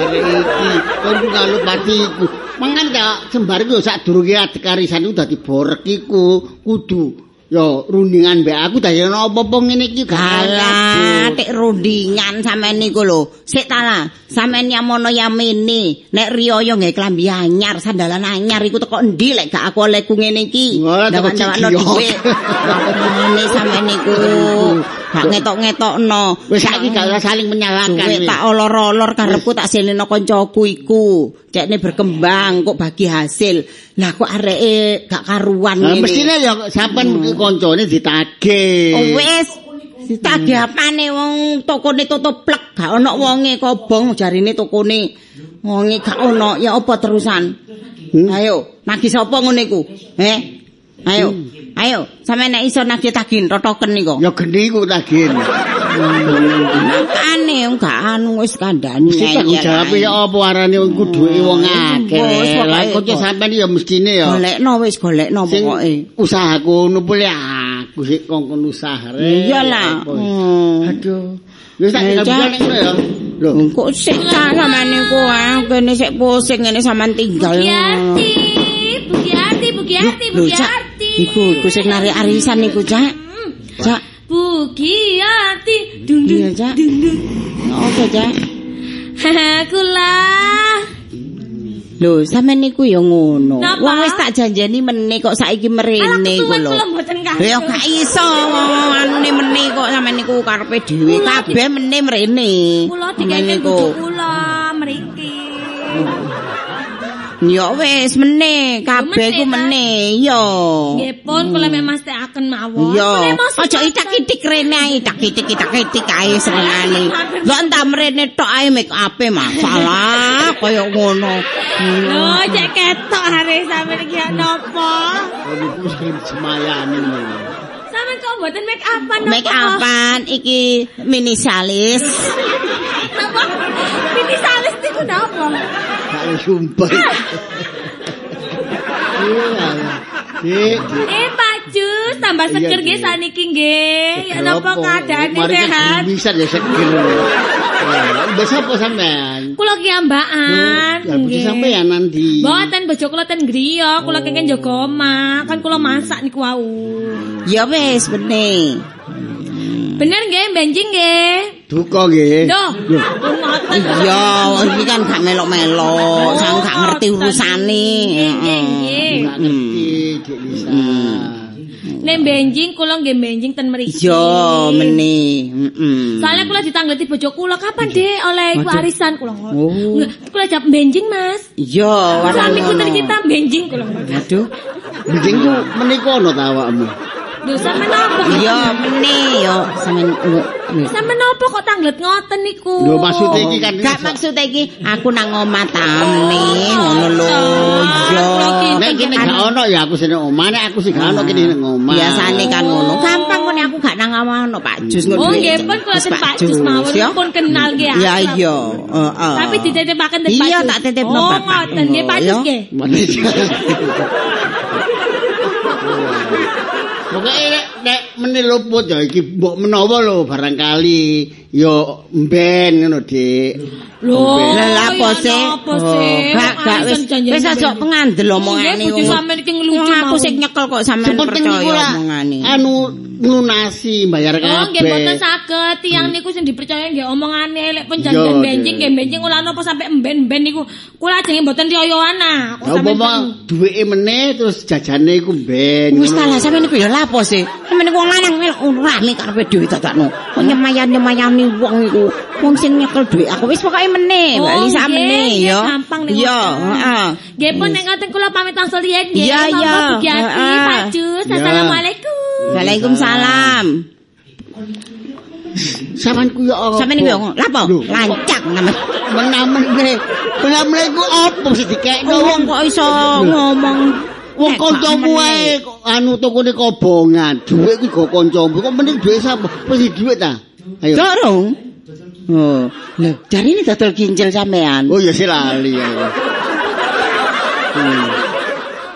[SPEAKER 6] iki. Kon ku kalut patiku. Mangan tak sembar ku sak durunge adek arisan ku dadi borek iku kudu ya rundingan mbek aku dadi ana apa-apa ngene iki gak
[SPEAKER 5] Alah,
[SPEAKER 6] enak, Bu.
[SPEAKER 5] tek rundingan sampean niku lho. Sik ta lah, sampean yamono yamene. Nek riyoyo nggae klambi anyar, sandalan anyar iku teko endi lek gak aku olehku ngene iki.
[SPEAKER 6] Ngono, teko
[SPEAKER 5] Dawan-dawanno
[SPEAKER 6] cikiok.
[SPEAKER 5] dhuwit. Ngene sampean niku. Gak ngetok-ngetokno.
[SPEAKER 6] Wis saiki gak usah saling menyalahkan.
[SPEAKER 5] Duit
[SPEAKER 6] wis.
[SPEAKER 5] tak olor-olor karepku tak silino koncoku iku. Cekne berkembang kok bagi hasil. Lah kok areke gak karuan
[SPEAKER 6] Nah,
[SPEAKER 5] ngene.
[SPEAKER 6] mestine ya sampean koncone ditagih.
[SPEAKER 5] Hmm. Oh, wis. Ditagih apane wong tokone tutup plek, gak ana wonge kobong jarine tokone. Wonge gak ana, ya apa terusan?
[SPEAKER 6] Hmm.
[SPEAKER 5] Ayo, nagih sapa ngene iku? Heh. Ayo, ayo, sampe nek iso nagih tagin totoken niku.
[SPEAKER 6] Ya geni ku tagih.
[SPEAKER 5] Apane wong gak anu wis kandhani.
[SPEAKER 6] Mesti tanggung jawab ya apa arane wong ku duwe wong akeh.
[SPEAKER 5] Hmm, Bos,
[SPEAKER 6] Lah
[SPEAKER 5] pokoke
[SPEAKER 6] kok
[SPEAKER 5] kok.
[SPEAKER 6] sampean ya mestine ya.
[SPEAKER 5] Golekno wis golekno
[SPEAKER 6] Sing
[SPEAKER 5] pokoke.
[SPEAKER 6] usaha ngono pole aku sik kongkon usaha.
[SPEAKER 5] Iyalah.
[SPEAKER 6] Apa.
[SPEAKER 5] Hmm.
[SPEAKER 6] Eh, Aduh. Wis tak
[SPEAKER 5] Eh,
[SPEAKER 6] tinggal
[SPEAKER 5] Cak.
[SPEAKER 6] bulan ngono ya. Lho,
[SPEAKER 5] Kok sik ta sampean niku ah, kene sik pusing ngene sampean tinggal.
[SPEAKER 2] Bugiati, Bugiati, Bugiati,
[SPEAKER 5] Lho, Cak.
[SPEAKER 2] Bugiati.
[SPEAKER 5] Iku, iku sing narik arisan iku, Cak.
[SPEAKER 2] Hmm,
[SPEAKER 5] Cak,
[SPEAKER 2] Bugiati, dung dung
[SPEAKER 5] Iya, Cak.
[SPEAKER 2] dung dung.
[SPEAKER 5] apa, Cak?
[SPEAKER 2] Aku lah.
[SPEAKER 5] Lho, sampean niku ya ngono.
[SPEAKER 2] Napa?
[SPEAKER 5] Wong wis tak janjeni meneh kok saiki
[SPEAKER 2] Alah
[SPEAKER 5] merene iku
[SPEAKER 2] kesuwen
[SPEAKER 5] lho.
[SPEAKER 2] kula mboten kangen.
[SPEAKER 5] Ya gak iso wong anune meneh kok sampean niku karepe dhewe
[SPEAKER 2] Kula
[SPEAKER 5] kabeh meneh mrene.
[SPEAKER 2] Kula
[SPEAKER 5] Sampean
[SPEAKER 2] dikene
[SPEAKER 5] niku.
[SPEAKER 2] kudu kula mriki.
[SPEAKER 5] Oh. Ya wis meneh, kabeh
[SPEAKER 2] meneh,
[SPEAKER 5] iku
[SPEAKER 2] Mas.
[SPEAKER 5] meneh, ya.
[SPEAKER 2] Nggih pun kula mek mastekaken mawon. Kula
[SPEAKER 5] Hmm. Iya.
[SPEAKER 2] emosi
[SPEAKER 5] Aja
[SPEAKER 2] mboten.
[SPEAKER 5] itak-itik rene ae, itak-itik itak-itik ae senengane. Lho entah mrene tok ae make up masalah kaya ngono.
[SPEAKER 2] Lho, cek ketok hari sampean iki ya napa?
[SPEAKER 6] niku sing semayane ngono.
[SPEAKER 2] Sampeyan kok mboten make upan napa?
[SPEAKER 5] Make upan iki mini salis.
[SPEAKER 2] Napa? Piti salis niku napa?
[SPEAKER 6] Gak ada sumpah. Iya. Dik, dik.
[SPEAKER 2] Eh Pak Jus, tambah
[SPEAKER 6] Iya,
[SPEAKER 2] seger nggih
[SPEAKER 6] iya.
[SPEAKER 2] saniki nggih. Ya napa
[SPEAKER 6] Apa?
[SPEAKER 2] keadaane
[SPEAKER 6] Mari
[SPEAKER 2] sehat?
[SPEAKER 6] Bisa ya seger. Ya, Udah sapa sampean?
[SPEAKER 2] Kula ki ambaan.
[SPEAKER 5] ya,
[SPEAKER 6] Lah bojo sampean nanti.
[SPEAKER 2] Mboten bojo kula ten griya,
[SPEAKER 5] Oh.
[SPEAKER 2] kula kengken jaga omah, kan kula masak niku wau.
[SPEAKER 5] Ya wis bener.
[SPEAKER 2] Bener nggih, benjing nggih.
[SPEAKER 6] Duka nggih.
[SPEAKER 2] Duh, ngoten.
[SPEAKER 5] Eh, Iya, iki kan gak
[SPEAKER 2] Oh,
[SPEAKER 5] melok-melok, sang gak ngerti urusane.
[SPEAKER 2] Nggih, nggih, nggih.
[SPEAKER 6] Gak ngerti, Dik Lisa.
[SPEAKER 2] Nek benjing kula nggih benjing ten mriki.
[SPEAKER 5] Iya, meneh. Heeh.
[SPEAKER 2] Soalnya kula ditanggeti bojo kula kapan Dek oleh ibu arisan kula.
[SPEAKER 5] Iya. Oh.
[SPEAKER 2] Nggak, Kula jap benjing, Mas.
[SPEAKER 5] Iya, warane.
[SPEAKER 2] Suami ku
[SPEAKER 5] ngono.
[SPEAKER 2] kita benjing kula.
[SPEAKER 5] Aduh.
[SPEAKER 6] Bikin ku menika ono ta awakmu?
[SPEAKER 2] Lho sampe napa?
[SPEAKER 5] Iya, meneh yo sampean
[SPEAKER 2] Sampe napa kok tanglet ngoten niku?
[SPEAKER 6] Lho maksud iki kan
[SPEAKER 5] Gak maksud iki aku nang omah ta meneh ngono lho. Iya.
[SPEAKER 6] Nek kene gak ono ya aku sing omah, nek aku sing gak ono kene nang omah.
[SPEAKER 5] Biasane kan ngono. Gampang kok nek aku gak nang omah ono Pak Jus ngono.
[SPEAKER 2] Oh,
[SPEAKER 5] duwe.
[SPEAKER 2] nggih pun kula
[SPEAKER 5] Terus
[SPEAKER 2] ten Pak Jus mawon
[SPEAKER 5] ya.
[SPEAKER 2] pun kenal nggih.
[SPEAKER 5] Ya
[SPEAKER 2] akrab.
[SPEAKER 5] iya, heeh.
[SPEAKER 2] Tapi dititipaken ten Pak
[SPEAKER 5] Iya,
[SPEAKER 2] Jus.
[SPEAKER 5] tak titipno
[SPEAKER 2] Oh,
[SPEAKER 5] Bapak.
[SPEAKER 2] ngoten nggih Pak Jus
[SPEAKER 5] Iya.
[SPEAKER 2] nggih.
[SPEAKER 6] Malaysia. Pokoke nek nek meneluput ya iki mbok menawa lho barangkali ya mben ngono Dik.
[SPEAKER 2] Lho,
[SPEAKER 5] Oh, Lah lha apa
[SPEAKER 2] ya
[SPEAKER 5] sih?
[SPEAKER 2] napa sih?
[SPEAKER 5] Oh,
[SPEAKER 2] Wong
[SPEAKER 5] Gak gak
[SPEAKER 2] arisan
[SPEAKER 5] wis
[SPEAKER 2] janjian
[SPEAKER 5] wis aja
[SPEAKER 2] benjing.
[SPEAKER 5] pengandel omongane.
[SPEAKER 2] Nggih, bojo
[SPEAKER 5] ngono.
[SPEAKER 2] sampean iki ngelucu
[SPEAKER 5] Wong Aku
[SPEAKER 2] mawon.
[SPEAKER 5] sing nyekel kok sampean
[SPEAKER 6] Sepenting niku
[SPEAKER 5] percaya
[SPEAKER 6] lah
[SPEAKER 5] omongane.
[SPEAKER 6] anu lunasi bayar kabeh.
[SPEAKER 2] Oh, nggih mboten saged. Tiang niku sing dipercaya nggih omongane lek pun janjian
[SPEAKER 6] Yo,
[SPEAKER 2] benjing
[SPEAKER 6] Dek.
[SPEAKER 2] nggih benjing kula napa sampe emben-emben niku. Kula ajenge mboten riyoyoan ah. Kok
[SPEAKER 6] Ya
[SPEAKER 2] sampean
[SPEAKER 6] umpama duweke meneh terus jajane iku ben.
[SPEAKER 5] Wis
[SPEAKER 2] Hmm.
[SPEAKER 5] talah sampean niku ya lapo sih? Sampean niku wong lanang melok rame karepe dhewe tatakno. Kok nyemayan-nyemayani wong iku. Wong sing nyekel dhuwit aku wis pokoke
[SPEAKER 1] Eh,
[SPEAKER 5] meneh, Mbak
[SPEAKER 2] Oh,
[SPEAKER 5] Lisa
[SPEAKER 2] nggih,
[SPEAKER 5] meneh
[SPEAKER 2] nggih,
[SPEAKER 5] ya.
[SPEAKER 2] gampang nih,
[SPEAKER 5] Iya,
[SPEAKER 2] Mas.
[SPEAKER 5] heeh.
[SPEAKER 2] Nggih pun nek ngoten kula pamit angsal riyen nggih.
[SPEAKER 1] Ya,
[SPEAKER 5] Iya,
[SPEAKER 2] Monggo,
[SPEAKER 5] iya.
[SPEAKER 2] Bu Giati,
[SPEAKER 5] Heeh.
[SPEAKER 2] Pak Jus.
[SPEAKER 6] Iya.
[SPEAKER 2] Assalamualaikum.
[SPEAKER 5] Waalaikumsalam.
[SPEAKER 6] Sampeyan ku ya
[SPEAKER 2] Oh,
[SPEAKER 6] apa?
[SPEAKER 5] Sampeyan niku ya ngono. Lha apa?
[SPEAKER 6] Lho.
[SPEAKER 5] Lancak namanya.
[SPEAKER 6] Menamene, menamene ku apa sih dikekno
[SPEAKER 5] Wong
[SPEAKER 6] wong
[SPEAKER 5] kok iso ngomong
[SPEAKER 6] Wong
[SPEAKER 5] Eh,
[SPEAKER 6] kancamu
[SPEAKER 5] sampeyan
[SPEAKER 6] ae kok anu tokone kobongan. Dhuwit ku go kancamu. Kok mending dhuwit sapa? Wis dhuwit ta? Ayo.
[SPEAKER 5] Dorong. Oh, lho, jarine dodol ginjel sampean.
[SPEAKER 6] Oh ya sih lali. ya. Hmm.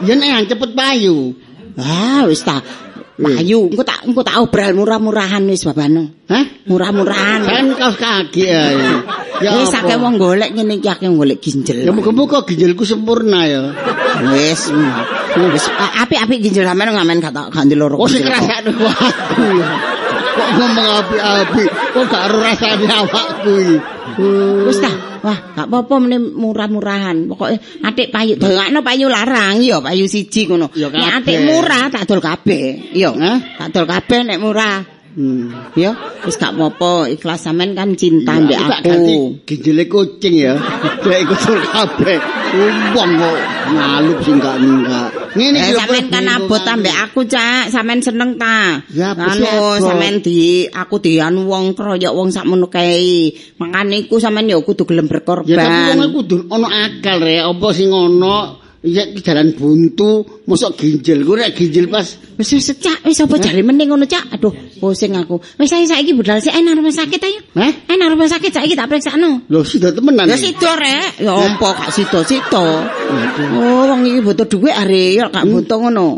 [SPEAKER 6] Ya nek cepet payu.
[SPEAKER 5] Ah, wis ta. Ayu, engko tak engko tak obral murah-murahan wis babano.
[SPEAKER 6] Hah?
[SPEAKER 5] Murah-murahan.
[SPEAKER 6] Kan kaos kaki ae.
[SPEAKER 5] Wis
[SPEAKER 6] apa?
[SPEAKER 5] akeh wong golek ngene iki akeh golek ginjel.
[SPEAKER 6] Ya muga-muga ginjalku sempurna ya.
[SPEAKER 5] Wis. Wis apik-apik ginjel sampean ngamen gak tak gak ndeloro.
[SPEAKER 6] Oh sing
[SPEAKER 5] ginjel kok.
[SPEAKER 6] rasane aku. Kok ngomong api-api, kok gak ero rasane awakku iki.
[SPEAKER 5] Wis ta. Wah, gak apa-apa meneh murah-murahan. Pokoke atik payu dongakno payu larang ya payu siji ngono.
[SPEAKER 6] Ya,
[SPEAKER 5] Nek
[SPEAKER 6] kabeh.
[SPEAKER 5] atik murah tak dol kabeh. Iya.
[SPEAKER 6] Hah?
[SPEAKER 5] Tak dol kabeh nek murah.
[SPEAKER 6] Hmm.
[SPEAKER 5] Ya, wis gak apa-apa. Ikhlas sampean kan cinta
[SPEAKER 6] Ya,
[SPEAKER 5] mbek
[SPEAKER 6] aku tak
[SPEAKER 5] aku.
[SPEAKER 6] ganti ginjale kucing ya. Dek iku sul kabeh. Wong kok ngalup sing gak enggak. Ngene
[SPEAKER 5] Eh,
[SPEAKER 6] iki lho,
[SPEAKER 5] sampean kan
[SPEAKER 6] kebingungan.
[SPEAKER 5] abot ambek aku, Cak. Sampean seneng ta?
[SPEAKER 6] Ya, apa sih
[SPEAKER 5] anu,
[SPEAKER 6] abot?
[SPEAKER 5] sampean di aku di anu wong kroyok wong sakmono kae. Makane iku sampean ya kudu gelem berkorban.
[SPEAKER 6] Ya tapi wong iku kudu ana akal rek, apa sing ana ya jalan buntu, mosok ginjel. Ku nek ginjel pas
[SPEAKER 5] Wis wis cak, wis apa jare meneh ngono cak. Aduh, pusing aku. Wis saiki saiki budal sik ana rumah sakit ayo.
[SPEAKER 6] Hah?
[SPEAKER 5] Eh nang rumah sakit saiki tak periksakno.
[SPEAKER 6] lho sudah temenan.
[SPEAKER 5] Ya
[SPEAKER 6] iki.
[SPEAKER 5] sido rek, ya apa gak sido-sido. Oh, wong iki butuh dhuwit are, ya
[SPEAKER 6] Hmm.
[SPEAKER 5] gak butuh ngono.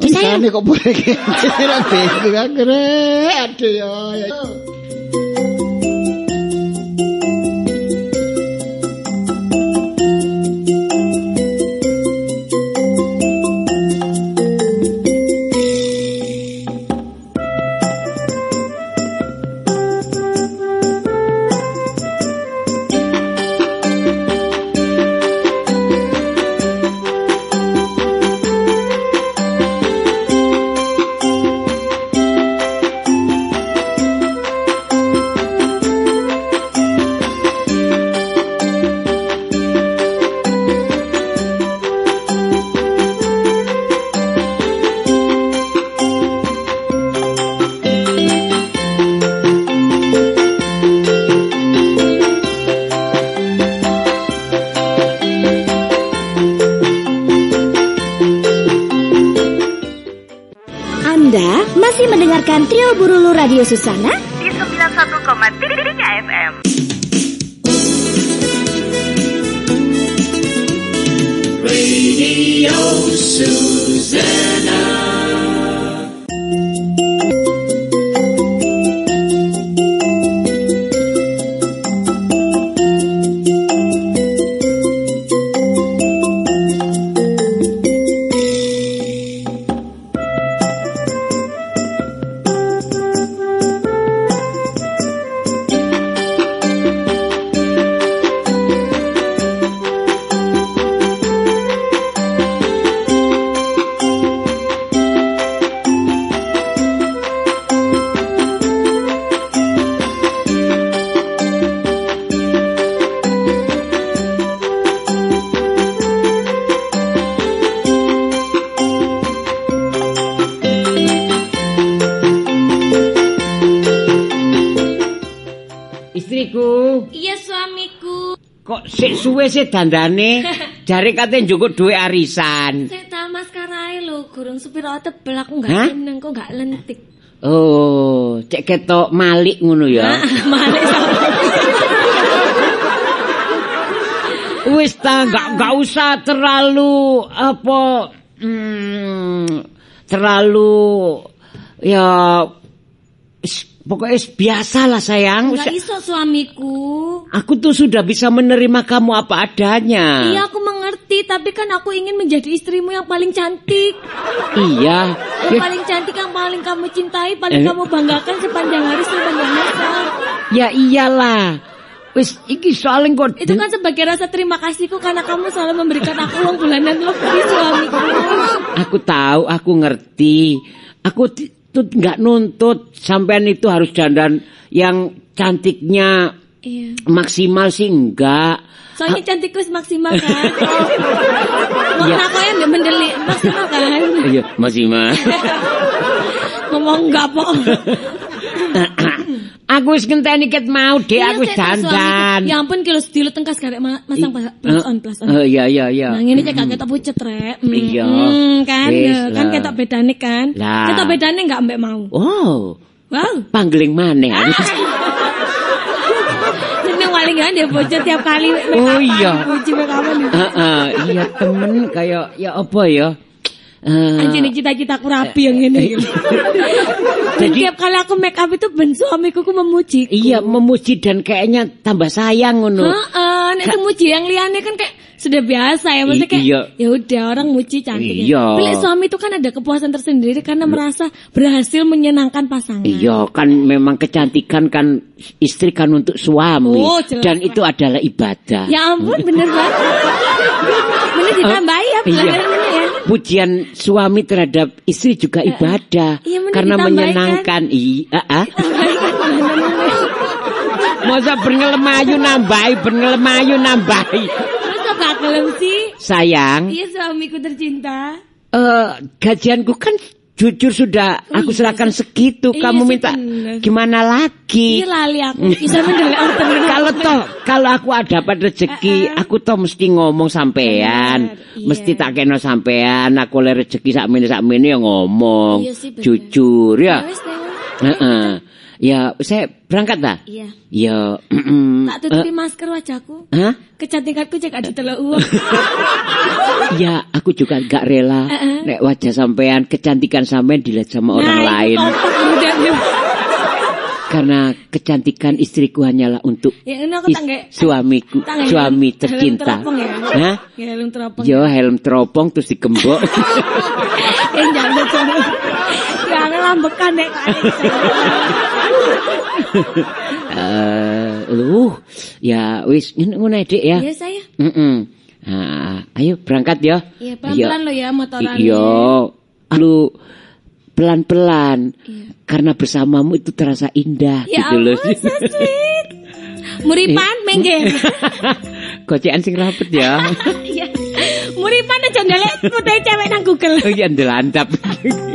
[SPEAKER 5] Wis ayo.
[SPEAKER 6] Isane kok boleh ginjel aku rek. Aduh ya. ya.
[SPEAKER 4] Anda masih mendengarkan Trio Burulu Radio Susana?
[SPEAKER 7] di 91,3 FM.
[SPEAKER 1] Istriku,
[SPEAKER 2] Iya suamiku.
[SPEAKER 1] kok sik suwe sih dandane? Jare kate njukuk dhuwit arisan.
[SPEAKER 2] Saya tak maskara ae lho, gurung supir otep belak aku gak
[SPEAKER 1] Hah?
[SPEAKER 2] seneng kok gak lentik.
[SPEAKER 1] Oh, cek ketok malik ngono ya.
[SPEAKER 2] Nah. Malik sama.
[SPEAKER 1] Wis ta nggak nggak usah terlalu apa hmm, terlalu ya s- pokoknya s- biasalah sayang.
[SPEAKER 2] Gak
[SPEAKER 1] Usah-
[SPEAKER 2] iso suamiku.
[SPEAKER 1] Aku tuh sudah bisa menerima kamu apa adanya.
[SPEAKER 2] Iya aku mengerti, tapi kan aku ingin menjadi istrimu yang paling cantik.
[SPEAKER 1] Iya.
[SPEAKER 2] Yang
[SPEAKER 1] Ya,
[SPEAKER 2] paling cantik, yang paling kamu cintai, paling
[SPEAKER 1] Eh.
[SPEAKER 2] kamu banggakan sepanjang hari, sepanjang masa.
[SPEAKER 1] ya iyalah. Wis iki soalnya kok
[SPEAKER 2] Itu kan sebagai rasa terima kasihku karena kamu selalu memberikan aku uang bulanan lebih suamiku.
[SPEAKER 1] aku tahu, aku ngerti. Aku ti- tuh nggak nuntut sampean itu harus dandan yang cantiknya
[SPEAKER 2] Iya.
[SPEAKER 1] maksimal sih enggak.
[SPEAKER 2] Soalnya cantikku maksimal kan. Mau
[SPEAKER 1] Iya.
[SPEAKER 2] aku yang nggak mendelik maksimal kan.
[SPEAKER 1] Iya, maksimal.
[SPEAKER 2] Ngomong nggak po.
[SPEAKER 1] Aku wis ngenteni ket mau, Dek, aku
[SPEAKER 2] Iya,
[SPEAKER 1] wis
[SPEAKER 2] Cek, terus suamiku. Ya
[SPEAKER 1] dandan.
[SPEAKER 2] ampun kilo sediluk tengkas karek ma- masang pas- plus on plus on.
[SPEAKER 1] Eh, iya iya iya.
[SPEAKER 2] Nah ngene cek gak ketok pucet rek. Mm,
[SPEAKER 1] Iya.
[SPEAKER 2] mm, kan
[SPEAKER 1] Wis
[SPEAKER 2] ya, kan
[SPEAKER 1] lah.
[SPEAKER 2] ketok bedane kan.
[SPEAKER 1] Lah.
[SPEAKER 2] Ketok bedane gak ambek mau.
[SPEAKER 1] Wow,
[SPEAKER 2] Wow.
[SPEAKER 1] panggeling maneh.
[SPEAKER 2] Seneng paling kan dia pucet tiap kali make
[SPEAKER 1] Oh,
[SPEAKER 2] upan,
[SPEAKER 1] iya.
[SPEAKER 2] dipuji make upan, dipuji.
[SPEAKER 1] Heeh, iya temen kayak ya apa ya? Eh,
[SPEAKER 2] Anjir ini cita-citaku rapi yang ini. Dan tiap kali aku make up itu ben suamiku ku memuji.
[SPEAKER 1] iya memuji dan kayaknya tambah sayang ngono.
[SPEAKER 2] Heeh, nek sing muji yang liane kan kayak sudah biasa ya maksudnya
[SPEAKER 1] I- iya.
[SPEAKER 2] kayak ya udah orang muji cantik.
[SPEAKER 1] Iya.
[SPEAKER 2] Ya. Tapi suami itu kan ada kepuasan tersendiri karena merasa berhasil menyenangkan pasangan.
[SPEAKER 1] Iya kan memang kecantikan kan istri kan untuk suami
[SPEAKER 2] Oh, jelas.
[SPEAKER 1] dan itu adalah ibadah.
[SPEAKER 2] Ya ampun bener banget. bener ditambahi ya
[SPEAKER 1] Iya.
[SPEAKER 2] pelanggaran ini ya.
[SPEAKER 1] Pujian suami terhadap istri juga ibadah
[SPEAKER 2] Eh, Iya, mending
[SPEAKER 1] karena
[SPEAKER 2] ditambahin,
[SPEAKER 1] menyenangkan. Iya. ah. Masa berngelemayu nambahi, berngelemayu nambahi.
[SPEAKER 2] Terus kok gak gelem sih?
[SPEAKER 1] Sayang,
[SPEAKER 2] Iya suamiku tercinta.
[SPEAKER 1] eh, gajianku kan jujur sudah aku serahkan segitu.
[SPEAKER 2] Oh, Iya
[SPEAKER 1] Kamu
[SPEAKER 2] sih,
[SPEAKER 1] minta
[SPEAKER 2] bener.
[SPEAKER 1] gimana lagi?
[SPEAKER 2] Iya lali aku. Bisa mendelek order.
[SPEAKER 1] kalau toh kalau aku dapat rezeki
[SPEAKER 2] Eh, eh.
[SPEAKER 1] aku toh mesti ngomong sampean
[SPEAKER 2] Bener, iya.
[SPEAKER 1] mesti tak kena sampean aku oleh rezeki sak mene sak ya ngomong
[SPEAKER 2] Iya sih, bener.
[SPEAKER 1] jujur
[SPEAKER 2] Ya
[SPEAKER 1] ya
[SPEAKER 2] wis, Teo.
[SPEAKER 1] Heeh. ya saya berangkat tak
[SPEAKER 2] Iya.
[SPEAKER 1] ya Eh,
[SPEAKER 2] Tak tutupi masker wajahku.
[SPEAKER 1] Hah?
[SPEAKER 2] Kecantikanku cek ada telok uang.
[SPEAKER 1] Ya, aku juga gak rela
[SPEAKER 2] Eh, eh.
[SPEAKER 1] nek wajah sampean, kecantikan sampean dilihat sama orang
[SPEAKER 2] Nah, itu
[SPEAKER 1] lain.
[SPEAKER 2] kompak udah.
[SPEAKER 1] Karena kecantikan istriku hanyalah untuk
[SPEAKER 2] Ya ini aku
[SPEAKER 1] is-
[SPEAKER 2] tak nggak-
[SPEAKER 1] suamiku,
[SPEAKER 2] tak nggak
[SPEAKER 1] suami
[SPEAKER 2] helm-
[SPEAKER 1] tercinta.
[SPEAKER 2] Helm teropong ya.
[SPEAKER 1] Hah?
[SPEAKER 2] Ya, Helm teropong.
[SPEAKER 1] Yo helm teropong terus dikembok.
[SPEAKER 2] Eh, jangan jangan. Jangan lambekan deh Kak Alex.
[SPEAKER 1] Eh, lu ya wis ngene ngono ae, Dik ya.
[SPEAKER 2] Iya saya.
[SPEAKER 1] Heeh. Nah, ayo berangkat ya.
[SPEAKER 2] Iya pelan-pelan
[SPEAKER 1] Ayo.
[SPEAKER 2] lo ya motoran.
[SPEAKER 1] Iya. Lu pelan-pelan. Karena bersamamu itu terasa indah
[SPEAKER 2] Iya. Ya
[SPEAKER 1] gitu loh. Eh.
[SPEAKER 2] ampun, so sweet. Muripan mengge.
[SPEAKER 1] Gocekan sing rapet ya.
[SPEAKER 2] Iya. Muripan aja ndelek foto cewek nang Google.
[SPEAKER 1] Oh iya ndelantap.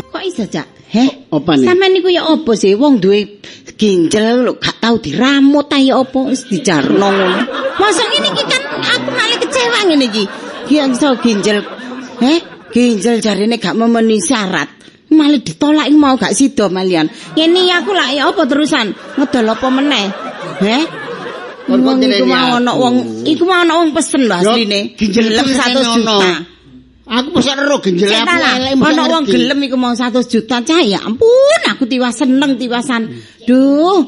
[SPEAKER 5] Kok iso, Cak? Heh,
[SPEAKER 6] O- apa nih?
[SPEAKER 5] Sampeyan niku ya apa sih wong duwe ginjel lho gak tau diramut ta ya apa wis dijarno ngono. Mosok ngene iki kan aku malah kecewa ngene iki. Ki iso ginjel. Heh, ginjel jarine gak memenuhi syarat. Malah ditolak iki mau gak sida malian. Ngene iki aku lak ya apa terusan? Ngedol apa meneh? Heh.
[SPEAKER 6] Kon
[SPEAKER 5] Wong iku
[SPEAKER 6] kok ndeleni
[SPEAKER 5] mau ana
[SPEAKER 6] aku.
[SPEAKER 5] wong iku mau ana wong pesen lho
[SPEAKER 6] Yo,
[SPEAKER 5] asline.
[SPEAKER 6] ginjel
[SPEAKER 5] Gelem
[SPEAKER 6] temen
[SPEAKER 5] 100
[SPEAKER 6] ana.
[SPEAKER 5] juta.
[SPEAKER 6] Aku mosok ero ginjel
[SPEAKER 5] Cek
[SPEAKER 6] aku
[SPEAKER 5] ta lah,
[SPEAKER 6] elek mosok
[SPEAKER 5] Ono wong
[SPEAKER 6] ngerti.
[SPEAKER 5] gelem iku mau 100 juta cah ya ampun aku tiwas seneng tiwasan. Duh,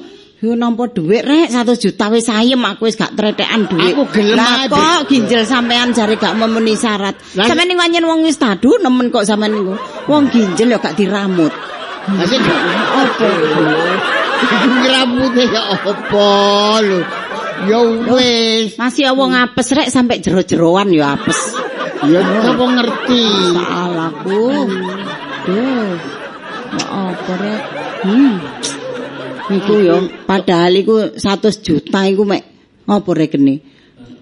[SPEAKER 5] yo nampa dhuwit rek 100 juta wis ayem aku wis gak tretekan dhuwit.
[SPEAKER 6] Aku gelem
[SPEAKER 5] Lah
[SPEAKER 6] ae,
[SPEAKER 5] kok ginjel sampean jare gak memenuhi syarat.
[SPEAKER 6] Lah,
[SPEAKER 5] Sampeyan ning wanyen wong wis tadu nemen kok sampean niku. Wong ginjel ya gak diramut.
[SPEAKER 6] Asik apa? Ngrambutnya ya apa lho? Ya wis.
[SPEAKER 5] Masih wong apes rek sampe jero-jeroan ya apes.
[SPEAKER 6] Ya sapa ngerti?
[SPEAKER 5] Salahku. Duh. Ya Hmm. apa rek? Hmm. Iku yo padahal iku 100 juta iku mek apa rekene?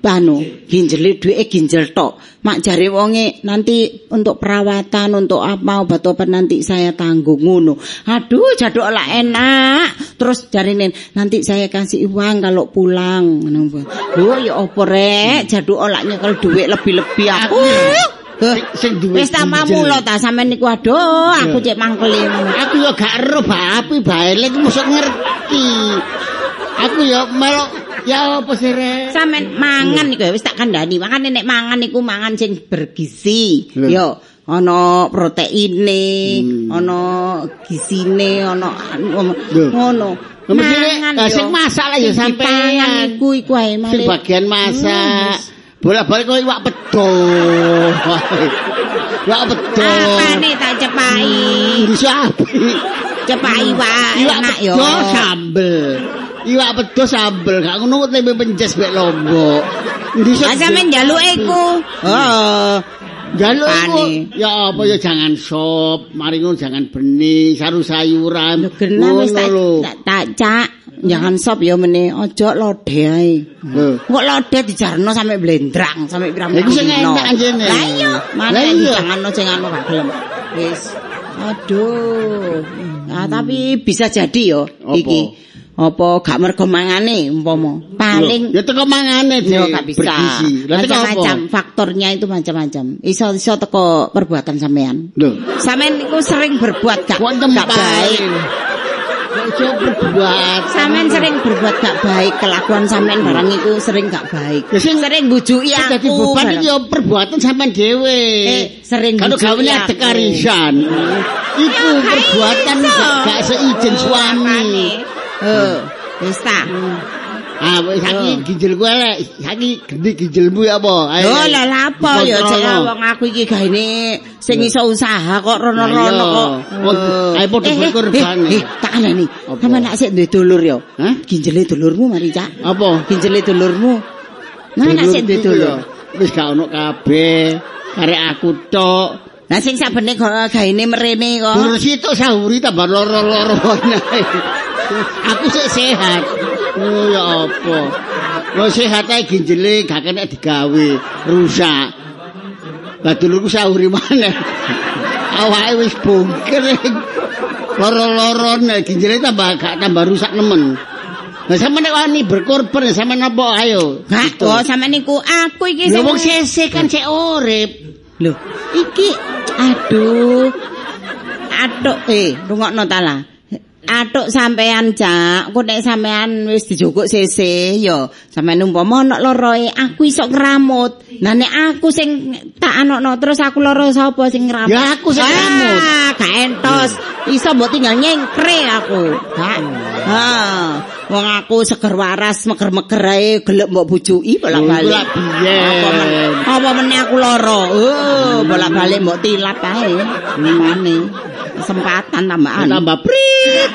[SPEAKER 5] Anu, ginjele dhuwite ginjel tok. Mak jare wonge nanti untuk perawatan, untuk apa obat-obat nanti saya tanggung ngono. Aduh, jaduk lah enak. Terus jarine nanti saya kasih uang kalau pulang. Ngono. Lho ya apa rek? Jaduk olak nyekel dhuwit lebih-lebih aku. Heh.
[SPEAKER 6] Sing duwe
[SPEAKER 5] Wis tak
[SPEAKER 6] ginjel.
[SPEAKER 5] mamulo ta sampean niku aduh aku cek mangkeli.
[SPEAKER 6] Aku ya gak ero bapi baelek mosok ngerti. Aku ya melok ya apa sih rek?
[SPEAKER 5] Sampean mangan iku ya, wis tak kandhani. Makane nek mangan iku mangan sing bergizi.
[SPEAKER 6] Lho.
[SPEAKER 5] Yo ana proteine,
[SPEAKER 6] Hmm.
[SPEAKER 5] ana gisine, ana anu-
[SPEAKER 6] Lho.
[SPEAKER 5] ngono.
[SPEAKER 6] Lah, mesti nek- lah,
[SPEAKER 5] yo.
[SPEAKER 6] sing masak lah ya
[SPEAKER 5] Sing
[SPEAKER 6] sampean.
[SPEAKER 5] dipangan iku iku ae
[SPEAKER 6] Sing
[SPEAKER 5] male.
[SPEAKER 6] bagian
[SPEAKER 5] Hmm,
[SPEAKER 6] masak. Bola-balik kok iwak pedo. Iwak pedo.
[SPEAKER 5] Apane tak cepai?
[SPEAKER 6] Bisa api.
[SPEAKER 5] Cepai wae
[SPEAKER 6] Iwak
[SPEAKER 5] enak yo.
[SPEAKER 6] pedo sambel. Iwak pedo sambel. Gak ngono kok tempe penjes mek lombok. Ndi sok-
[SPEAKER 5] Lah sampean njaluke iku. Oh.
[SPEAKER 6] Hmm.
[SPEAKER 5] Heeh.
[SPEAKER 6] Jaluk iku.
[SPEAKER 5] Pane.
[SPEAKER 6] Ya apa ya jangan sop, mari ngono jangan benih, saru sayuran.
[SPEAKER 5] Lho genah wis tak
[SPEAKER 6] Ngono lho.
[SPEAKER 5] tak- tak cak. Jangan sop ya meneh, aja lodhe ae.
[SPEAKER 6] Lho.
[SPEAKER 5] Kok lodhe dijarno sampe blendrang, sampe pirang-pirang.
[SPEAKER 6] Lah iku sing
[SPEAKER 5] dino.
[SPEAKER 6] enak anjene.
[SPEAKER 5] Lah iya,
[SPEAKER 6] Lah
[SPEAKER 5] mana
[SPEAKER 6] iya.
[SPEAKER 5] dijanganno sing anu gak gelem. Wis. Aduh. Nah, tapi bisa jadi yo
[SPEAKER 6] Apa?
[SPEAKER 5] iki. Apa gak mergo mangane umpama? Paling
[SPEAKER 6] Loh, ya teko mangane Dik,
[SPEAKER 5] Yo gak bisa.
[SPEAKER 6] iya, bergizi. Lah teko apa?
[SPEAKER 5] Macam-macam faktornya itu macam-macam. Iso iso teko perbuatan sampean.
[SPEAKER 6] Loh,
[SPEAKER 5] Sampean niku sering berbuat gak,
[SPEAKER 6] kok
[SPEAKER 5] gak baik.
[SPEAKER 6] tempain. Kok iso berbuat.
[SPEAKER 5] Sampean sering berbuat gak baik, kelakuan sampean barang iku sering gak baik.
[SPEAKER 6] Ya, sing-
[SPEAKER 5] sering bujuki
[SPEAKER 6] Kok
[SPEAKER 5] aku.
[SPEAKER 6] Dadi beban
[SPEAKER 5] barang.
[SPEAKER 6] iki ya perbuatan sampean dhewe.
[SPEAKER 5] Eh, sering
[SPEAKER 6] Kalau
[SPEAKER 5] bujuki
[SPEAKER 6] gawe
[SPEAKER 5] aku.
[SPEAKER 6] adek arisan. Iku perbuatan gak gak seizin suami. Hmm.
[SPEAKER 5] Heeh. Oh, Wis ta.
[SPEAKER 6] Ah, wis saiki ginjel gue elek. Saiki ganti ginjelmu ya apa? Eh, Ayo.
[SPEAKER 5] Lho lho Oh, lha apa ya
[SPEAKER 6] Dikontrol. Hmm.
[SPEAKER 5] jek wong aku iki gaene sing iso usaha kok rono-rono
[SPEAKER 6] Lah iya.
[SPEAKER 5] kok.
[SPEAKER 6] Wong- ayo padha
[SPEAKER 5] Eh, eh,
[SPEAKER 6] berkorban.
[SPEAKER 5] eh, Eh, tak anani.
[SPEAKER 6] Apa?
[SPEAKER 5] Sampe nak sik duwe dulur ya.
[SPEAKER 6] Hah?
[SPEAKER 5] Ginjele dulurmu mari Cak.
[SPEAKER 6] Apa?
[SPEAKER 5] Ginjele dulurmu. Nah nak sik duwe
[SPEAKER 6] Dulurku
[SPEAKER 5] dulur.
[SPEAKER 6] ya, Wis gak ono kabeh. Karek aku tok.
[SPEAKER 5] Lah sing sabene kok gaene merene kok.
[SPEAKER 6] Dulur situ sahuri tambah loro-loro wae. Aku sik sehat. Oh ya apa. Lo sehat ae ginjele gak kena digawe, rusak. Lah dulurku sahuri maneh. Awake wis bongker. Loro-loro nek ginjele tambah gak tambah rusak nemen. Lah sampe nek wani berkorban sampe napa ayo.
[SPEAKER 5] Gak,
[SPEAKER 6] Gitu.
[SPEAKER 5] oh sama niku aku iki
[SPEAKER 6] Lah
[SPEAKER 5] sing-
[SPEAKER 6] wong sese kan sik urip.
[SPEAKER 5] Lho, iki aduh. Atuk eh rungokno ta lah. Atuk sampean Cak, ku nek sampean wis dijukuk sese ya sampean umpama ana loroe aku iso ngramut. Nah nek aku sing tak anokno terus aku loro sapa sing ngramut?
[SPEAKER 6] Ya, aku sing
[SPEAKER 5] Ah,
[SPEAKER 6] Hmm. ngramut.
[SPEAKER 5] gak entos. Iso mbok tinggal nyengkre aku.
[SPEAKER 6] Ah.
[SPEAKER 5] Gak. Ha. Wong aku seger waras meger-meger ae gelek mbok bujuki bolak-balik.
[SPEAKER 6] Lho, iku lah biyen.
[SPEAKER 5] Apa men- Apa meneh aku lara? Oh,
[SPEAKER 6] Hmm.
[SPEAKER 5] bolak-balik mbok tilap ae. Ngimane. Kesempatan tambahan.
[SPEAKER 6] Tambah prit.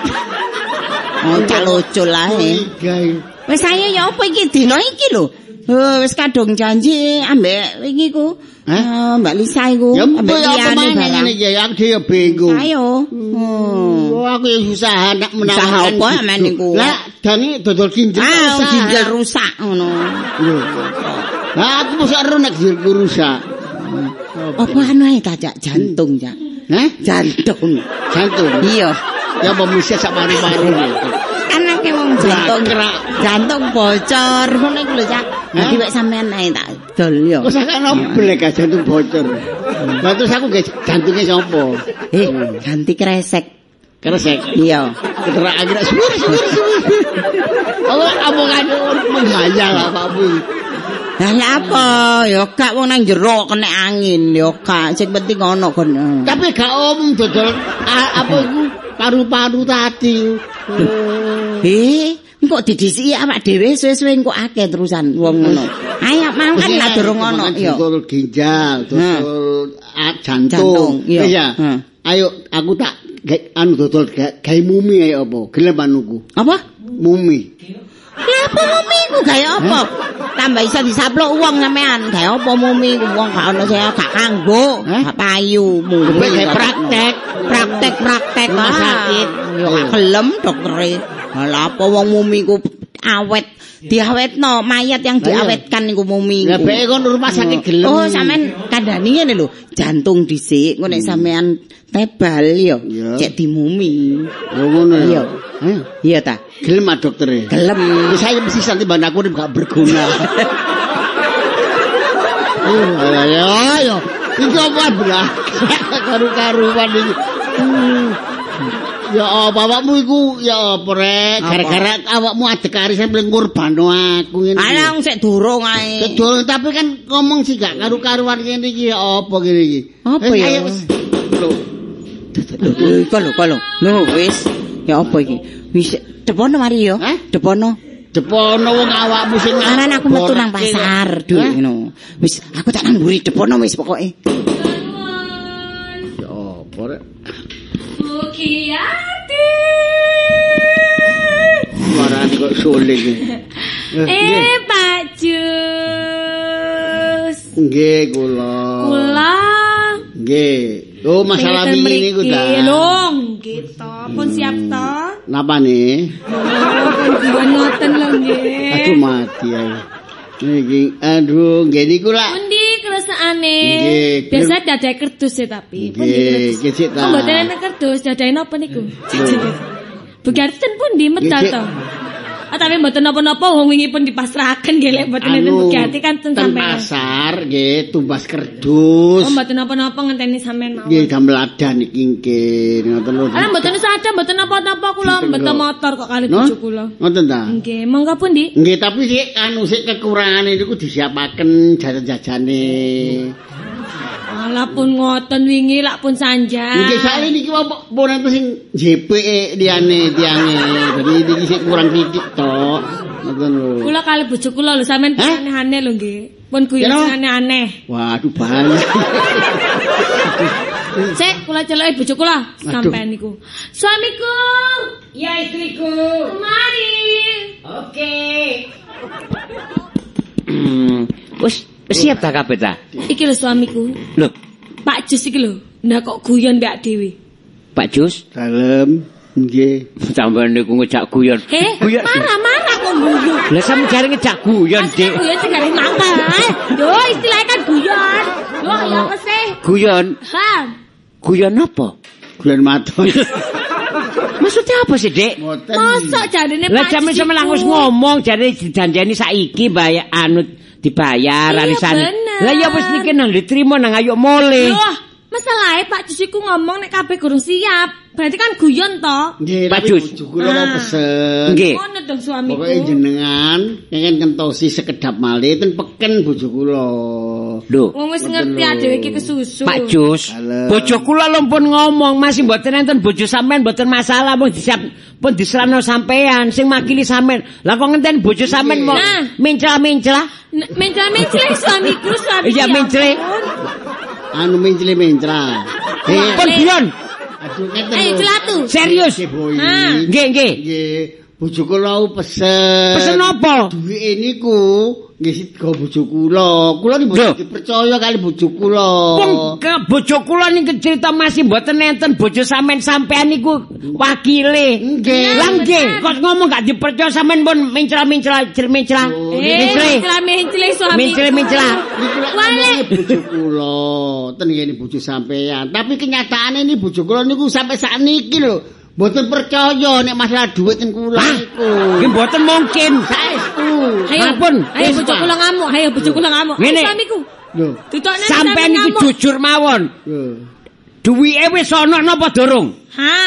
[SPEAKER 5] Ngocak lucu ae.
[SPEAKER 6] Gawe.
[SPEAKER 5] Wis ayo ya apa iki dina iki lho. Oh, wis kadung janji ambek iki ku.
[SPEAKER 6] Heh?
[SPEAKER 5] Eh, Mbak Lisa iku.
[SPEAKER 6] Ya mbok
[SPEAKER 5] ambek
[SPEAKER 6] ya apa
[SPEAKER 5] liyane
[SPEAKER 6] maneh
[SPEAKER 5] barang.
[SPEAKER 6] ngene iki ya aku dhewe ya bingung.
[SPEAKER 5] Ayo. Hmm.
[SPEAKER 6] Oh, aku ya susah nak menawarkan.
[SPEAKER 5] Usaha apa
[SPEAKER 6] hidup.
[SPEAKER 5] aman niku?
[SPEAKER 6] Lah, dani dodol ginjel
[SPEAKER 5] Ah,
[SPEAKER 6] usaha.
[SPEAKER 5] ginjal rusak ngono.
[SPEAKER 6] Lho. Lah, aku mesti ero nek ginjel rusak.
[SPEAKER 5] Apa Oh, anu ae kacak jantung, Cak.
[SPEAKER 6] Hah?
[SPEAKER 5] Jantung.
[SPEAKER 6] Jantung.
[SPEAKER 5] Iya.
[SPEAKER 6] Ya apa mesti sak paru-paru.
[SPEAKER 5] Anake wong jantung
[SPEAKER 6] Kerak.
[SPEAKER 5] jantung bocor ngono iku lho, Cak. Dadi wek sampean ae tak dol yo.
[SPEAKER 6] Wes sak noblek aja jantung bocor. Lah terus aku ge jantunge sapa?
[SPEAKER 5] Eh, ganti kresek.
[SPEAKER 6] Kresek.
[SPEAKER 5] Iya.
[SPEAKER 6] Keterak angin suwir suwir suwir. Apa omongane menghayal apa-apa.
[SPEAKER 5] Lah lah apa? Yo gak wong nang jero kena angin, yo gak. Sing penting ono kon.
[SPEAKER 6] Tapi gak om dodol a- apa iku paru-paru tadi. Oh.
[SPEAKER 5] Eh, engko didisiki awak dhewe suwe-suwe engko akeh terusan wong ngono. Ayo mangan lah durung ono yo.
[SPEAKER 6] Dodol ginjal, dodol a- jantung.
[SPEAKER 5] Jantung, iya.
[SPEAKER 6] Iya.
[SPEAKER 5] Hmm.
[SPEAKER 6] Ayo aku tak ge- anu dodol ge- gawe mumi ayo apa? Gelem anuku.
[SPEAKER 5] Apa?
[SPEAKER 6] Mumi.
[SPEAKER 5] Kenapa mumi ku gaya apa?
[SPEAKER 6] Hmm?
[SPEAKER 5] Tambah iso disaplok wong sampean. Gaya apa mumi ku wong gak ono saya gak kanggo,
[SPEAKER 6] Hah?
[SPEAKER 5] gak payu mumi.
[SPEAKER 6] Kowe gaya
[SPEAKER 5] gak
[SPEAKER 6] Hmm? praktek.
[SPEAKER 5] ono. praktek-praktek
[SPEAKER 6] Rumah
[SPEAKER 5] ah.
[SPEAKER 6] sakit. Hmm.
[SPEAKER 5] Yo gak gelem doktere. Lah apa wong mumi ku awet diawetno mayat yang
[SPEAKER 6] Lah iya.
[SPEAKER 5] diawetkan niku mumi.
[SPEAKER 6] Lah
[SPEAKER 5] ku.
[SPEAKER 6] bae kon rumah sakit gelem.
[SPEAKER 5] Oh, sampean kandhani ngene lho, jantung dhisik, engko
[SPEAKER 6] Hmm.
[SPEAKER 5] nek sampean tebal yo,
[SPEAKER 6] Iya.
[SPEAKER 5] cek dimumi.
[SPEAKER 6] Yo ngono
[SPEAKER 5] Iya.
[SPEAKER 6] ya. Eh? Ayo.
[SPEAKER 5] Iya ta?
[SPEAKER 6] Gelem ah doktere.
[SPEAKER 5] Gelem.
[SPEAKER 6] Wis saya mesti santai ban aku urip gak berguna. Uh, ayo ayo ayo. Iki apa blah? Karu-karuan iki. Hmm. Ya apa awakmu iku ya apa rek gara-gara awakmu adek arisan paling ngurbano aku ngene.
[SPEAKER 5] Ana sik durung ae.
[SPEAKER 6] Betul, tapi kan ngomong sih gak karu-karuan ngene iki ya apa ngene iki.
[SPEAKER 5] Apa
[SPEAKER 6] Eh,
[SPEAKER 5] ya?
[SPEAKER 6] ayo, wis. Loh,
[SPEAKER 5] Lho, iku lho, iku lho. Lho, wis. Ya apa iki? Wis depono mari yo.
[SPEAKER 6] Hah?
[SPEAKER 5] Depono.
[SPEAKER 6] Depono wong awakmu sing
[SPEAKER 5] Aran aku metu nang
[SPEAKER 6] borak iki.
[SPEAKER 5] pasar
[SPEAKER 6] Hah?
[SPEAKER 5] dhewe ngono. Wis, aku tak nangguri depono wis pokoke.
[SPEAKER 6] Ya apa rek?
[SPEAKER 2] Sukiati.
[SPEAKER 6] Suarane kok suling. Eh,
[SPEAKER 2] Eh, Pak Jus.
[SPEAKER 6] Nggih kula.
[SPEAKER 2] Kula
[SPEAKER 6] Nggih. Oh masalah
[SPEAKER 2] pengen
[SPEAKER 6] wingi niku
[SPEAKER 2] mriki.
[SPEAKER 6] ta.
[SPEAKER 2] Long, gitu. Pun siap to?
[SPEAKER 6] Napa nih?
[SPEAKER 2] Pun diwan ngoten lho nggih.
[SPEAKER 6] Aduh mati ayo. Niki aduh nggih niku lak.
[SPEAKER 2] Pundi kelesane?
[SPEAKER 6] Nggih,
[SPEAKER 2] Biasa
[SPEAKER 6] ger-
[SPEAKER 2] dadai kerdus ya tapi. Pundi
[SPEAKER 6] Nggih, kecik ta.
[SPEAKER 2] Kok mboten kerdus, dadain apa niku? Bugarten pun di Medan
[SPEAKER 6] Nggih, Cik.
[SPEAKER 2] to. Oh, tapi mboten napa-napa wong wingi pun dipasrahaken nggih lek mboten enten Bugatti kan ten
[SPEAKER 6] Anu, ten
[SPEAKER 2] sampean.
[SPEAKER 6] pasar nggih tumbas
[SPEAKER 2] Oh,
[SPEAKER 6] kerdus.
[SPEAKER 2] mboten napa-napa ngenteni sampean
[SPEAKER 6] Nggih
[SPEAKER 2] mawon.
[SPEAKER 6] gamel adan iki nggih ngoten lho.
[SPEAKER 2] Ala mboten sadar mboten napa-napa kula
[SPEAKER 6] Mboten Nah.
[SPEAKER 2] mboten
[SPEAKER 6] kok.
[SPEAKER 2] motor kok kali
[SPEAKER 6] Noh?
[SPEAKER 2] bojo kula.
[SPEAKER 6] Ngoten ta?
[SPEAKER 2] Nggih, monggo pun Di.
[SPEAKER 6] Nggih tapi sik anu sik kekurangane niku disiapaken jajan-jajane.
[SPEAKER 2] Ala pun ngoten wingi lak pun sanjang.
[SPEAKER 6] Nah. Nggih sakle niki wae pun enten sing JPE liyane tiange. Dadi niki sik kurang titik tok. Ngoten lho.
[SPEAKER 2] Kula kali bojo kula lho sampean
[SPEAKER 6] Hah? Ya
[SPEAKER 2] aneh-aneh lho nggih. Pun guyon
[SPEAKER 6] Kenapa?
[SPEAKER 2] sing aneh-aneh.
[SPEAKER 6] Waduh bahaya.
[SPEAKER 2] Cek kula celoki bojo kula
[SPEAKER 6] Aduh.
[SPEAKER 2] sampean niku. Suamiku,
[SPEAKER 8] Ya istriku.
[SPEAKER 2] kemari.
[SPEAKER 8] Oke.
[SPEAKER 1] Hmm, Wis wis siap ta kabeh ta?
[SPEAKER 2] Iki lho suamiku.
[SPEAKER 1] Loh,
[SPEAKER 2] Pak Jus iki lho. Nah kok guyon mbak Dewi.
[SPEAKER 1] Pak Jus,
[SPEAKER 6] Dalem nggih.
[SPEAKER 1] sampean niku ngejak guyon.
[SPEAKER 2] Heh,
[SPEAKER 1] Guyon.
[SPEAKER 2] marah-marah kok guyon.
[SPEAKER 1] Lah sampe jare ngejak guyon,
[SPEAKER 2] Maksudnya
[SPEAKER 1] Dik.
[SPEAKER 2] guyon sing gak mangkel. Yo, istilahnya kan guyon. Yo, ya apa sih?
[SPEAKER 1] Guyon,
[SPEAKER 2] Ha.
[SPEAKER 1] guyon apa?
[SPEAKER 6] Bulan maton.
[SPEAKER 1] Maksudnya apa sih, Dik?
[SPEAKER 6] Ngoten.
[SPEAKER 2] Mosok jarene
[SPEAKER 1] Lah
[SPEAKER 2] Pak
[SPEAKER 1] jaman
[SPEAKER 2] Jus.
[SPEAKER 1] sampe langus ngomong jare dijanjeni saiki bayar anu dibayar
[SPEAKER 2] Iya,
[SPEAKER 1] arisan.
[SPEAKER 2] bener.
[SPEAKER 1] Lah ya wis niki nang diterima nang ayo mole.
[SPEAKER 2] Loh, masalahnya Pak Jus iku ngomong nek kabeh durung siap. Berarti kan guyon to.
[SPEAKER 6] Nggih,
[SPEAKER 1] Pak
[SPEAKER 6] tapi
[SPEAKER 1] Jus.
[SPEAKER 6] bojo kula mau
[SPEAKER 2] Ah.
[SPEAKER 6] pesen.
[SPEAKER 1] Nggih.
[SPEAKER 2] Ngono dong suamiku.
[SPEAKER 6] Pokoke jenengan pengen kentosi sekedap malih ten peken bojo kula.
[SPEAKER 1] Loh,
[SPEAKER 2] Wong wis ngerti adewe iki kesusu.
[SPEAKER 1] Pak Jus,
[SPEAKER 6] Halo.
[SPEAKER 1] bojo kula lho pun ngomong masih mboten enten bojo sampean mboten masalah mung disiap pun diserano sampean sing makili sampean. Lah kok ngenten bojo sampean mau
[SPEAKER 2] Nah.
[SPEAKER 1] mencela-mencela.
[SPEAKER 2] N- Mencel-mencel suamiku suamiku.
[SPEAKER 1] Iya
[SPEAKER 2] ya
[SPEAKER 1] mencele.
[SPEAKER 6] Anu mencile mencra. Eh,
[SPEAKER 1] Pun guyon.
[SPEAKER 6] aduh ngeten
[SPEAKER 2] Eh,
[SPEAKER 6] lho.
[SPEAKER 2] celatu.
[SPEAKER 1] Serius.
[SPEAKER 6] Eh, boy.
[SPEAKER 2] Ah.
[SPEAKER 1] Nggih, nggih.
[SPEAKER 6] Nggih, bojo kula mau pesen.
[SPEAKER 1] Pesen apa?
[SPEAKER 6] Duwike niku nggih sida bojo kula. Kula iki
[SPEAKER 1] Loh.
[SPEAKER 6] bojo dipercaya kali bojo kula.
[SPEAKER 1] Wong ke bojo kula niki cerita masih mboten enten bojo sampean sampean niku wakile.
[SPEAKER 6] Nggih.
[SPEAKER 1] Lah nggih, kok ngomong gak dipercaya sampean pun mencela-mencela mencela.
[SPEAKER 2] Eh,
[SPEAKER 1] Mencela.
[SPEAKER 2] mencel-mencel suamiku.
[SPEAKER 1] Mencela-mencela.
[SPEAKER 6] Niku lak
[SPEAKER 2] Wale.
[SPEAKER 6] ngomongnya bojo kula, ten ngene bojo sampean. Tapi kenyataane ini bojo kula niku sampe sakniki lho. Mboten percaya nek masalah duit ten kula
[SPEAKER 1] Hah?
[SPEAKER 6] iku.
[SPEAKER 1] Nggih mboten mungkin.
[SPEAKER 6] Saestu.
[SPEAKER 2] Ayo,
[SPEAKER 1] Ampun,
[SPEAKER 2] ayo
[SPEAKER 1] wis,
[SPEAKER 2] bojo
[SPEAKER 1] Pak.
[SPEAKER 2] kula ngamuk, ayo bojo kula ngamuk. Ayo
[SPEAKER 1] Ngene.
[SPEAKER 2] suamiku.
[SPEAKER 6] Lho.
[SPEAKER 2] Tutokne
[SPEAKER 1] Sampean iki jujur mawon.
[SPEAKER 6] lho.
[SPEAKER 1] Duwike wis ana napa durung?
[SPEAKER 2] Ha.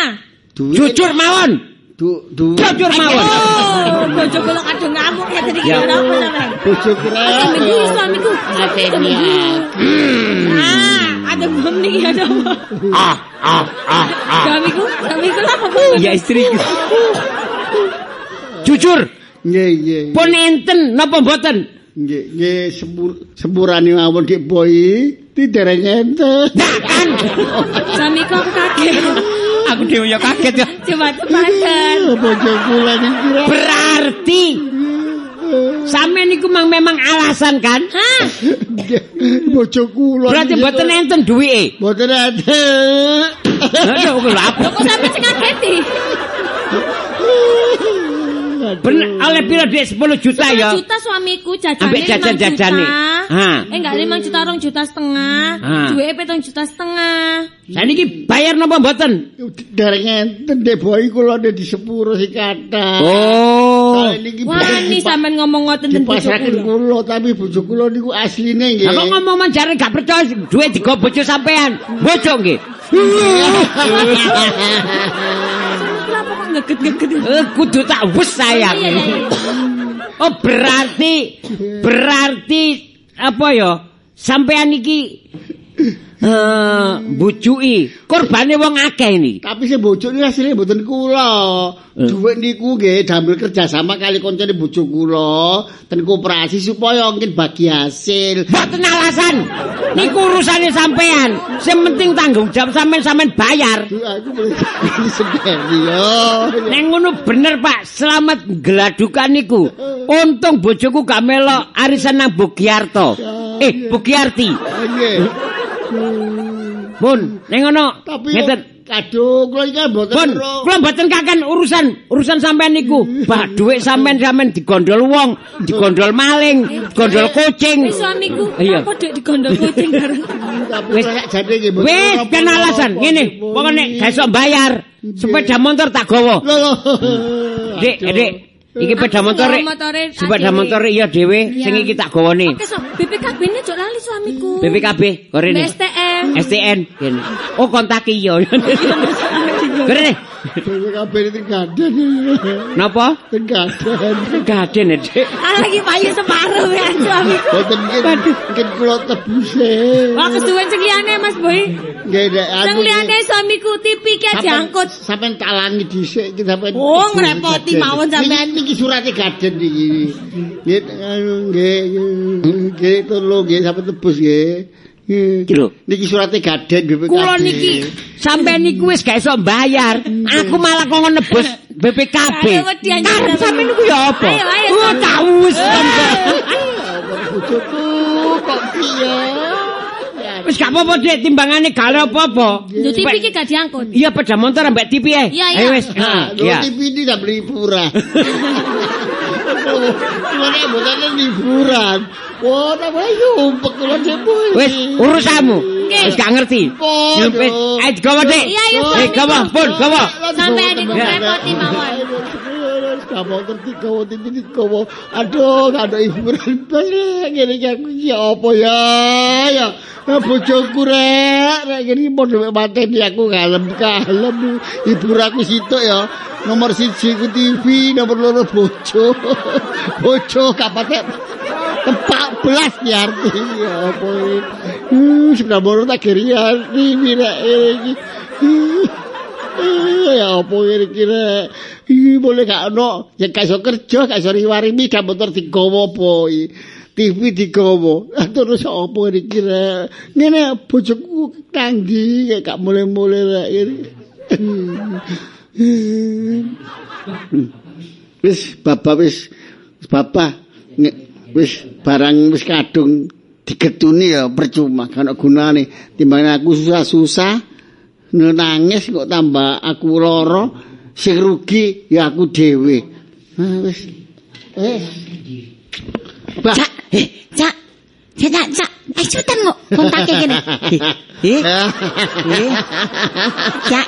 [SPEAKER 6] Duit
[SPEAKER 1] Jujur mawon.
[SPEAKER 6] du, duit.
[SPEAKER 1] Jujur mawon.
[SPEAKER 2] Oh, bojo kula kadung ngamuk ya tadi
[SPEAKER 1] Ya.
[SPEAKER 2] kira apa sampean?
[SPEAKER 6] Bojo kula.
[SPEAKER 2] Ayo minggu suamiku. Suamiku.
[SPEAKER 1] Hmm.
[SPEAKER 2] Ah, ada bom nih ada bom.
[SPEAKER 1] Ah, ah, ah, ah.
[SPEAKER 2] Suamiku, suamiku apa Bu?
[SPEAKER 1] Ya istriku. Jujur,
[SPEAKER 6] Nggih, nggih.
[SPEAKER 1] pun enten napa mboten?
[SPEAKER 6] Nggih, nggih sepur, sepurane mawon Dik Boy. Tidereng enten.
[SPEAKER 1] Nah, kan.
[SPEAKER 2] Suamiku aku kaget.
[SPEAKER 1] Aku dhewe ya kaget ya.
[SPEAKER 2] Coba tepakan.
[SPEAKER 6] Eh, Bojo kula niku.
[SPEAKER 1] Berarti sampean niku mang memang alasan kan?
[SPEAKER 2] Hah?
[SPEAKER 6] Nggih, Bojo kula.
[SPEAKER 1] Berarti
[SPEAKER 6] niku.
[SPEAKER 1] mboten enten duwike.
[SPEAKER 6] Mboten enten.
[SPEAKER 1] Lah ya kok lapo?
[SPEAKER 2] Kok sampe sing kaget sih?
[SPEAKER 1] Bener oleh piro Dik? 10 juta ya.
[SPEAKER 2] juta suamiku jajane
[SPEAKER 1] Ambek jajan-
[SPEAKER 2] 5 juta.
[SPEAKER 1] jajane. Ha.
[SPEAKER 2] Eh enggak 5 juta rong juta setengah.
[SPEAKER 1] Ha.
[SPEAKER 2] Duwe 7 juta setengah.
[SPEAKER 1] Saniki bayar napa mboten?
[SPEAKER 6] Dereng enten Dik Boy kula nek disepuro sik kathah.
[SPEAKER 1] Oh.
[SPEAKER 6] Kali niki
[SPEAKER 2] Wani
[SPEAKER 6] dipa-
[SPEAKER 2] sampean ngomong ngoten den bojo
[SPEAKER 6] dipasraken
[SPEAKER 2] kula.
[SPEAKER 6] kula tapi bojo kula niku asline nggih.
[SPEAKER 1] Lah kok ngomong man jare gak percaya duwe digo bojo sampean. Bojo nggih.
[SPEAKER 2] Kenapa kok ngeget-ngeget?
[SPEAKER 1] Eh kudu tak wes sayang.
[SPEAKER 2] Oh, Iya, iya, iya.
[SPEAKER 1] Oh berarti berarti apa ya? Sampean iki eh bujui korbane wong akeh ini.
[SPEAKER 6] Tapi sing bojo niku asline mboten kula.
[SPEAKER 1] Eh.
[SPEAKER 6] Duit niku nggih damel kerjasama kali koncone bojo kula ten koperasi supaya mungkin bagi hasil.
[SPEAKER 1] Mboten alasan. Niku urusane sampean. Sing penting tanggung jawab sampean sampean bayar.
[SPEAKER 6] Duh, aku boleh sendiri yo.
[SPEAKER 1] Neng ngono bener Pak, selamat geladukan niku. Untung bojoku gak melok arisan nang Bugiarto. Eh, Bugiarti.
[SPEAKER 6] Nggih.
[SPEAKER 1] Mun, neng ngono.
[SPEAKER 6] Tapi
[SPEAKER 1] Ngeten.
[SPEAKER 6] kadung kula iki kan mboten
[SPEAKER 1] Pun,
[SPEAKER 6] ro.
[SPEAKER 1] kula mboten kakan urusan urusan sampean niku. Bah dhuwit sampean sampean digondol wong, digondol maling, digondol kucing.
[SPEAKER 2] Eh suamiku,
[SPEAKER 1] Iya.
[SPEAKER 2] kok dek digondol kucing bareng.
[SPEAKER 6] Tapi
[SPEAKER 1] Wis.
[SPEAKER 6] kula sak jane nggih mboten
[SPEAKER 1] Wis
[SPEAKER 6] ro-
[SPEAKER 1] kan alasan
[SPEAKER 6] napa-
[SPEAKER 1] ngene, pokoke nek gak iso bayar, Sepeda motor tak gowo.
[SPEAKER 6] Lho, lho.
[SPEAKER 1] Dik, Dik. Iki sepeda
[SPEAKER 2] Aku
[SPEAKER 1] motor.
[SPEAKER 2] nggawa
[SPEAKER 1] Dik.
[SPEAKER 2] motore
[SPEAKER 1] Sepeda
[SPEAKER 2] adikku.
[SPEAKER 1] motor iya dhewe
[SPEAKER 2] Iya.
[SPEAKER 1] sing iki tak gowone.
[SPEAKER 2] Oke, so, BPKB ini jok lali suamiku.
[SPEAKER 1] BPKB gorene.
[SPEAKER 2] STM.
[SPEAKER 1] STN. Gini. Oh kontak iya. Gorene.
[SPEAKER 6] Dewe kabeh tegaden.
[SPEAKER 1] Napa?
[SPEAKER 6] Tegaden.
[SPEAKER 1] Gaden ya, Dik.
[SPEAKER 2] Ah lagi payu separuh ya suamiku.
[SPEAKER 6] Boten kin kin kula tebuse.
[SPEAKER 2] Wah, kesuwen sing liyane Mas Boy.
[SPEAKER 6] Nggih, Dek,
[SPEAKER 2] Sing
[SPEAKER 6] aku.
[SPEAKER 2] liyane suamiku tipi kayak diangkut.
[SPEAKER 6] Sampeyan tak langi dhisik iki sampeyan.
[SPEAKER 2] Oh, ngerepoti mawon sampeyan.
[SPEAKER 6] Iki- Iki surate gaden iki. Nggih, anu, nggih, nggih, tolong nggih sampeyan tebus nggih.
[SPEAKER 1] Iki lho.
[SPEAKER 6] Niki surate gaden BPKB.
[SPEAKER 1] Kulo niki sampe niku wis gak iso bayar. Aku malah kok nebus BPKB.
[SPEAKER 2] Ayo, wedi, anjing.
[SPEAKER 1] Karep sampe niku ya apa?
[SPEAKER 2] Ayo, ayo,
[SPEAKER 1] Gua
[SPEAKER 2] sampe.
[SPEAKER 1] tau wis.
[SPEAKER 6] bojoku kok piye?
[SPEAKER 1] Wis gak apa-apa Dik, timbangane gak oleh apa-apa.
[SPEAKER 2] Lho tipi
[SPEAKER 1] Pe-
[SPEAKER 2] iki gak diangkut.
[SPEAKER 1] Iya peda motor ambek tipi ae.
[SPEAKER 2] Iya, iya.
[SPEAKER 1] Ayo wis.
[SPEAKER 6] Nah,
[SPEAKER 1] Ha,
[SPEAKER 6] lho
[SPEAKER 1] iya.
[SPEAKER 6] TV ini udah beli hiburan. Kulo nek botane hiburan. Wah, apa yo umpek kulo demo.
[SPEAKER 1] Wis urusanmu. Wis gak ngerti.
[SPEAKER 6] Waduh.
[SPEAKER 1] Nyumpit. Ayo gowo Dik.
[SPEAKER 2] Iya, iya,
[SPEAKER 1] Eh,
[SPEAKER 2] suamiku.
[SPEAKER 1] gowo, pun gowo.
[SPEAKER 2] Sampai adikku ngerepoti mawon.
[SPEAKER 6] Kamu ngerti kamu tipi ini kamu aduh gak ada hiburan pas rek. ngene iki aku iki apa ya ya nah, bojoku rek rek ngene mau dhewe mateni aku kalem kalem hibur aku sitok ya nomor siji ku TV nomor loro bojo bojo kapatek tempat belas ya artinya ya apa ini hmm, sebelah baru tak kirian ini rek ini Eh, ya apa kira-kira iki boleh gak ono ya gak iso kerja gak iso riwarimi dak motor digowo apa iki TV digowo Ah, terus apa kira-kira ngene bojoku nang ndi Ya, gak mulai-mulai lah ini wis bapak wis wis bapak nge- wis barang wis kadung digetuni ya percuma gak ono gunane timbang aku susah-susah nangis kok tambah aku lara sing rugi ya aku dhewe Nah, wis Eh. wis Bah.
[SPEAKER 9] Cak, eh, cak, cak, cak, cak. Eh, cepetan kok kontaknya gini.
[SPEAKER 1] Eh,
[SPEAKER 5] eh,
[SPEAKER 9] Cak,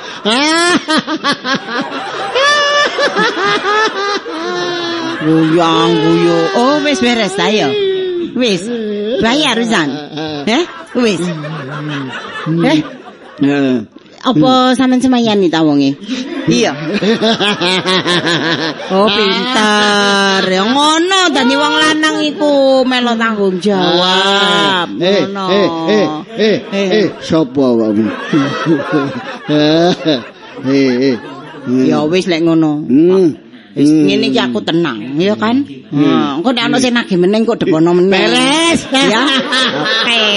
[SPEAKER 5] Guyong guyu. Oh wis beres ta ya. Wis. Bayar Zan. Eh? Wis. Eh?
[SPEAKER 1] eh,
[SPEAKER 5] Apa sampean semayani ta wonge? Iya. Oh pintar. Ya ngono dadi wong lanang iku melo tanggung jawab.
[SPEAKER 6] eh
[SPEAKER 5] Ngono.
[SPEAKER 6] eh eh eh eh sapa awakmu eh eh eh.
[SPEAKER 5] Ya wis lek ngono.
[SPEAKER 6] hmm
[SPEAKER 5] Wis ngene iki aku tenang, ya kan? Heeh. Engko nek ana sing nagih meneng kok depono meneng. Beres. Ya. Oke.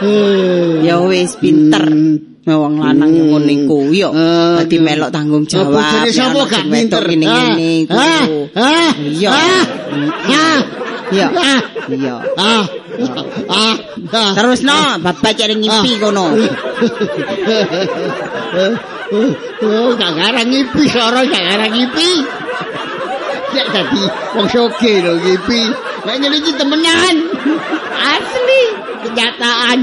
[SPEAKER 6] Hmm.
[SPEAKER 5] Ya wis pinter. Wong lanang yo ngono iku yo.
[SPEAKER 6] Eh,
[SPEAKER 5] Dadi melok tanggung jawab.
[SPEAKER 6] bojone sapa
[SPEAKER 5] melok
[SPEAKER 6] gak
[SPEAKER 5] sing
[SPEAKER 6] pinter
[SPEAKER 5] wedok Ngene-ngene iku.
[SPEAKER 6] ah ah
[SPEAKER 5] Iya.
[SPEAKER 6] ah ah
[SPEAKER 5] Iya.
[SPEAKER 6] ah
[SPEAKER 5] Iya.
[SPEAKER 6] ah ah ah
[SPEAKER 5] Terus no, bapak cari ngimpi kono.
[SPEAKER 6] Oh, gak ngarang ngipi, seorang gak ngarang ngipi. Ya tadi, wong soge lho ngipi. Nek ngene iki temenan. Asli kenyataan.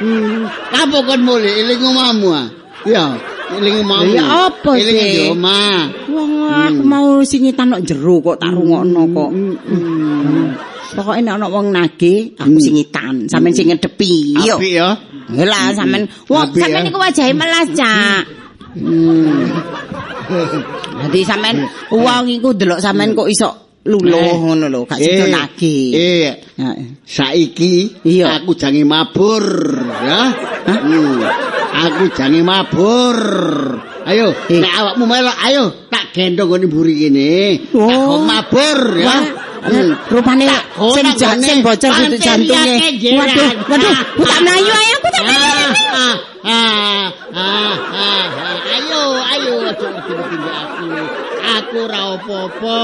[SPEAKER 6] Hmm. Apa kon mulih eling omahmu? ah? Ya, eling omahmu.
[SPEAKER 5] Ya apa,
[SPEAKER 6] Eling
[SPEAKER 5] Dik?
[SPEAKER 6] di omah.
[SPEAKER 5] Wong
[SPEAKER 6] Hmm.
[SPEAKER 5] aku mau singitan nok jero kok tak rungokno kok.
[SPEAKER 6] Hmm.
[SPEAKER 5] Pokoke nek ana wong nagih, aku singitan, sampean sing ngedepi. Yo.
[SPEAKER 6] Apik ya.
[SPEAKER 5] Lah sampean, wong
[SPEAKER 6] Apik,
[SPEAKER 5] sampean
[SPEAKER 6] ya. Hmm.
[SPEAKER 5] niku wajahe melas, Cak. Dadi sampean wong iku delok sampean kok iso luluh
[SPEAKER 6] Hmm. Eh.
[SPEAKER 5] ngono lho, gak sida
[SPEAKER 6] Eh,
[SPEAKER 5] nagih.
[SPEAKER 6] Eh,
[SPEAKER 5] Ya.
[SPEAKER 6] saiki
[SPEAKER 5] Iya.
[SPEAKER 6] aku jange mabur ya Hmm. aku jange mabur ayo
[SPEAKER 5] Eh.
[SPEAKER 6] nek awakmu melok ayo tak gendong ngene mburi kene
[SPEAKER 5] Oh.
[SPEAKER 6] tak kon mabur ya Hmm.
[SPEAKER 5] Wah, eh, rupane
[SPEAKER 6] oh,
[SPEAKER 5] sing
[SPEAKER 6] nak
[SPEAKER 5] ja-
[SPEAKER 6] gone.
[SPEAKER 5] sing bocor
[SPEAKER 6] Pantai
[SPEAKER 5] duduk jantunge.
[SPEAKER 6] riake jeran.
[SPEAKER 5] Waduh, waduh,
[SPEAKER 6] Ah,
[SPEAKER 5] aku tak
[SPEAKER 6] ah,
[SPEAKER 5] mlayu ae aku tak
[SPEAKER 6] ah,
[SPEAKER 5] mlayu.
[SPEAKER 6] ah, ah, ah, ah, ah. ayo ayo aja ngerti-ngerti aku aku ra apa-apa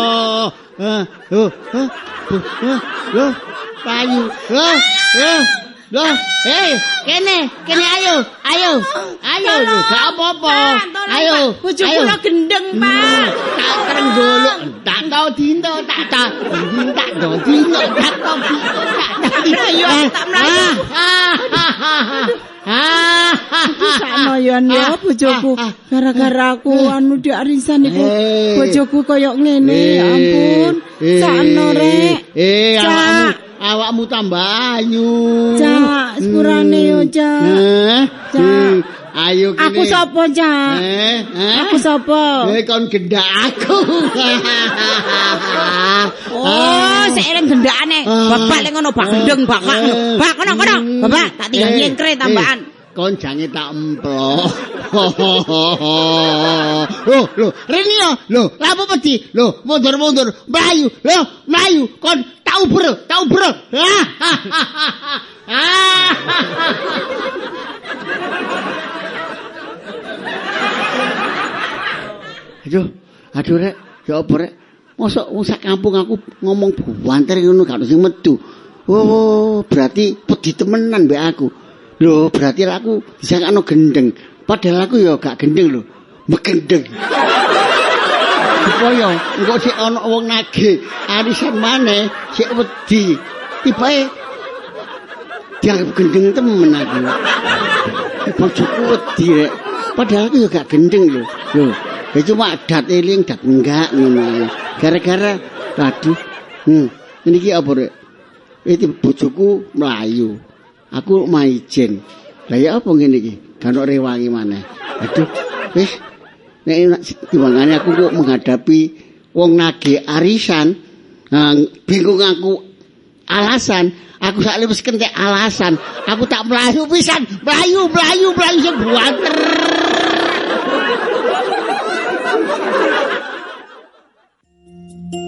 [SPEAKER 6] Eh, oh, eh, eh, eh, loh payu loh loh loh hei kene kene ayo ayo ayo lho, gak apa-apa ayo Ayo,
[SPEAKER 5] Bojo
[SPEAKER 6] ayo.
[SPEAKER 5] kula gendeng, Pak.
[SPEAKER 6] Tak terenggolok, tak tahu dinto, tak tahu dinto, tak tahu dinto, tak tahu dinto, tak tahu dinto.
[SPEAKER 5] Ayo, tak melayu. Ah,
[SPEAKER 6] ah,
[SPEAKER 10] Sakno yo ya bojoku gara-gara aku anu di arisan iku
[SPEAKER 6] Eh.
[SPEAKER 10] bojoku koyo ngene ya ampun
[SPEAKER 6] Eh,
[SPEAKER 10] sakno rek
[SPEAKER 6] Eh,
[SPEAKER 10] Cak.
[SPEAKER 6] awakmu, awakmu tambah ayu.
[SPEAKER 10] Cak, sepurane yo, Cak.
[SPEAKER 6] Eh,
[SPEAKER 10] Cak.
[SPEAKER 6] eh, Ayo kene.
[SPEAKER 10] aku sapa cak
[SPEAKER 6] Eh, eh.
[SPEAKER 10] aku sapa
[SPEAKER 6] Eh, kon gendak aku.
[SPEAKER 5] Oh, sik eling gendakane.
[SPEAKER 6] Ah.
[SPEAKER 5] Bapak lek ngono bak gendeng bapak.
[SPEAKER 6] Eh.
[SPEAKER 5] Bak kono kono. Bapak tak tinggal
[SPEAKER 6] Eh,
[SPEAKER 5] nyengkre
[SPEAKER 6] eh,
[SPEAKER 5] tambahan.
[SPEAKER 6] Kon jange tak emplok. Loh, loh, rene yo. Loh, lapo peti? Loh, mundur-mundur. Melayu, loh, melayu. Kon tau ber, tau ber. Ah. Aduh, aduh rek, ya apa rek? Mosok wong sak kampung aku ngomong buanter ngono gak ono sing metu. Oh, berarti pedi temenan mbek aku. Lho, berarti aku disangkano gendeng. Padahal aku ya gak gendeng lho. Megendeng. Supaya engko sik ana wong nagih arisan maneh sik wedi. Tibae dianggap gendeng temen aku. Bojoku wedi rek. Padahal aku ya gak gendeng lho. Lho, ya cuma dat eling dat enggak ngono. Gara-gara aduh. Hmm, ini ki apa rek? Iki bojoku mlayu. Aku maijen. Lah ya apa ngene iki? Gak ono rewangi maneh. Aduh, wis nek enak timbangane aku kok menghadapi wong nagih arisan, nah, bingung aku alasan aku sak wis kentek alasan aku tak melayu pisan melayu melayu melayu sing buanter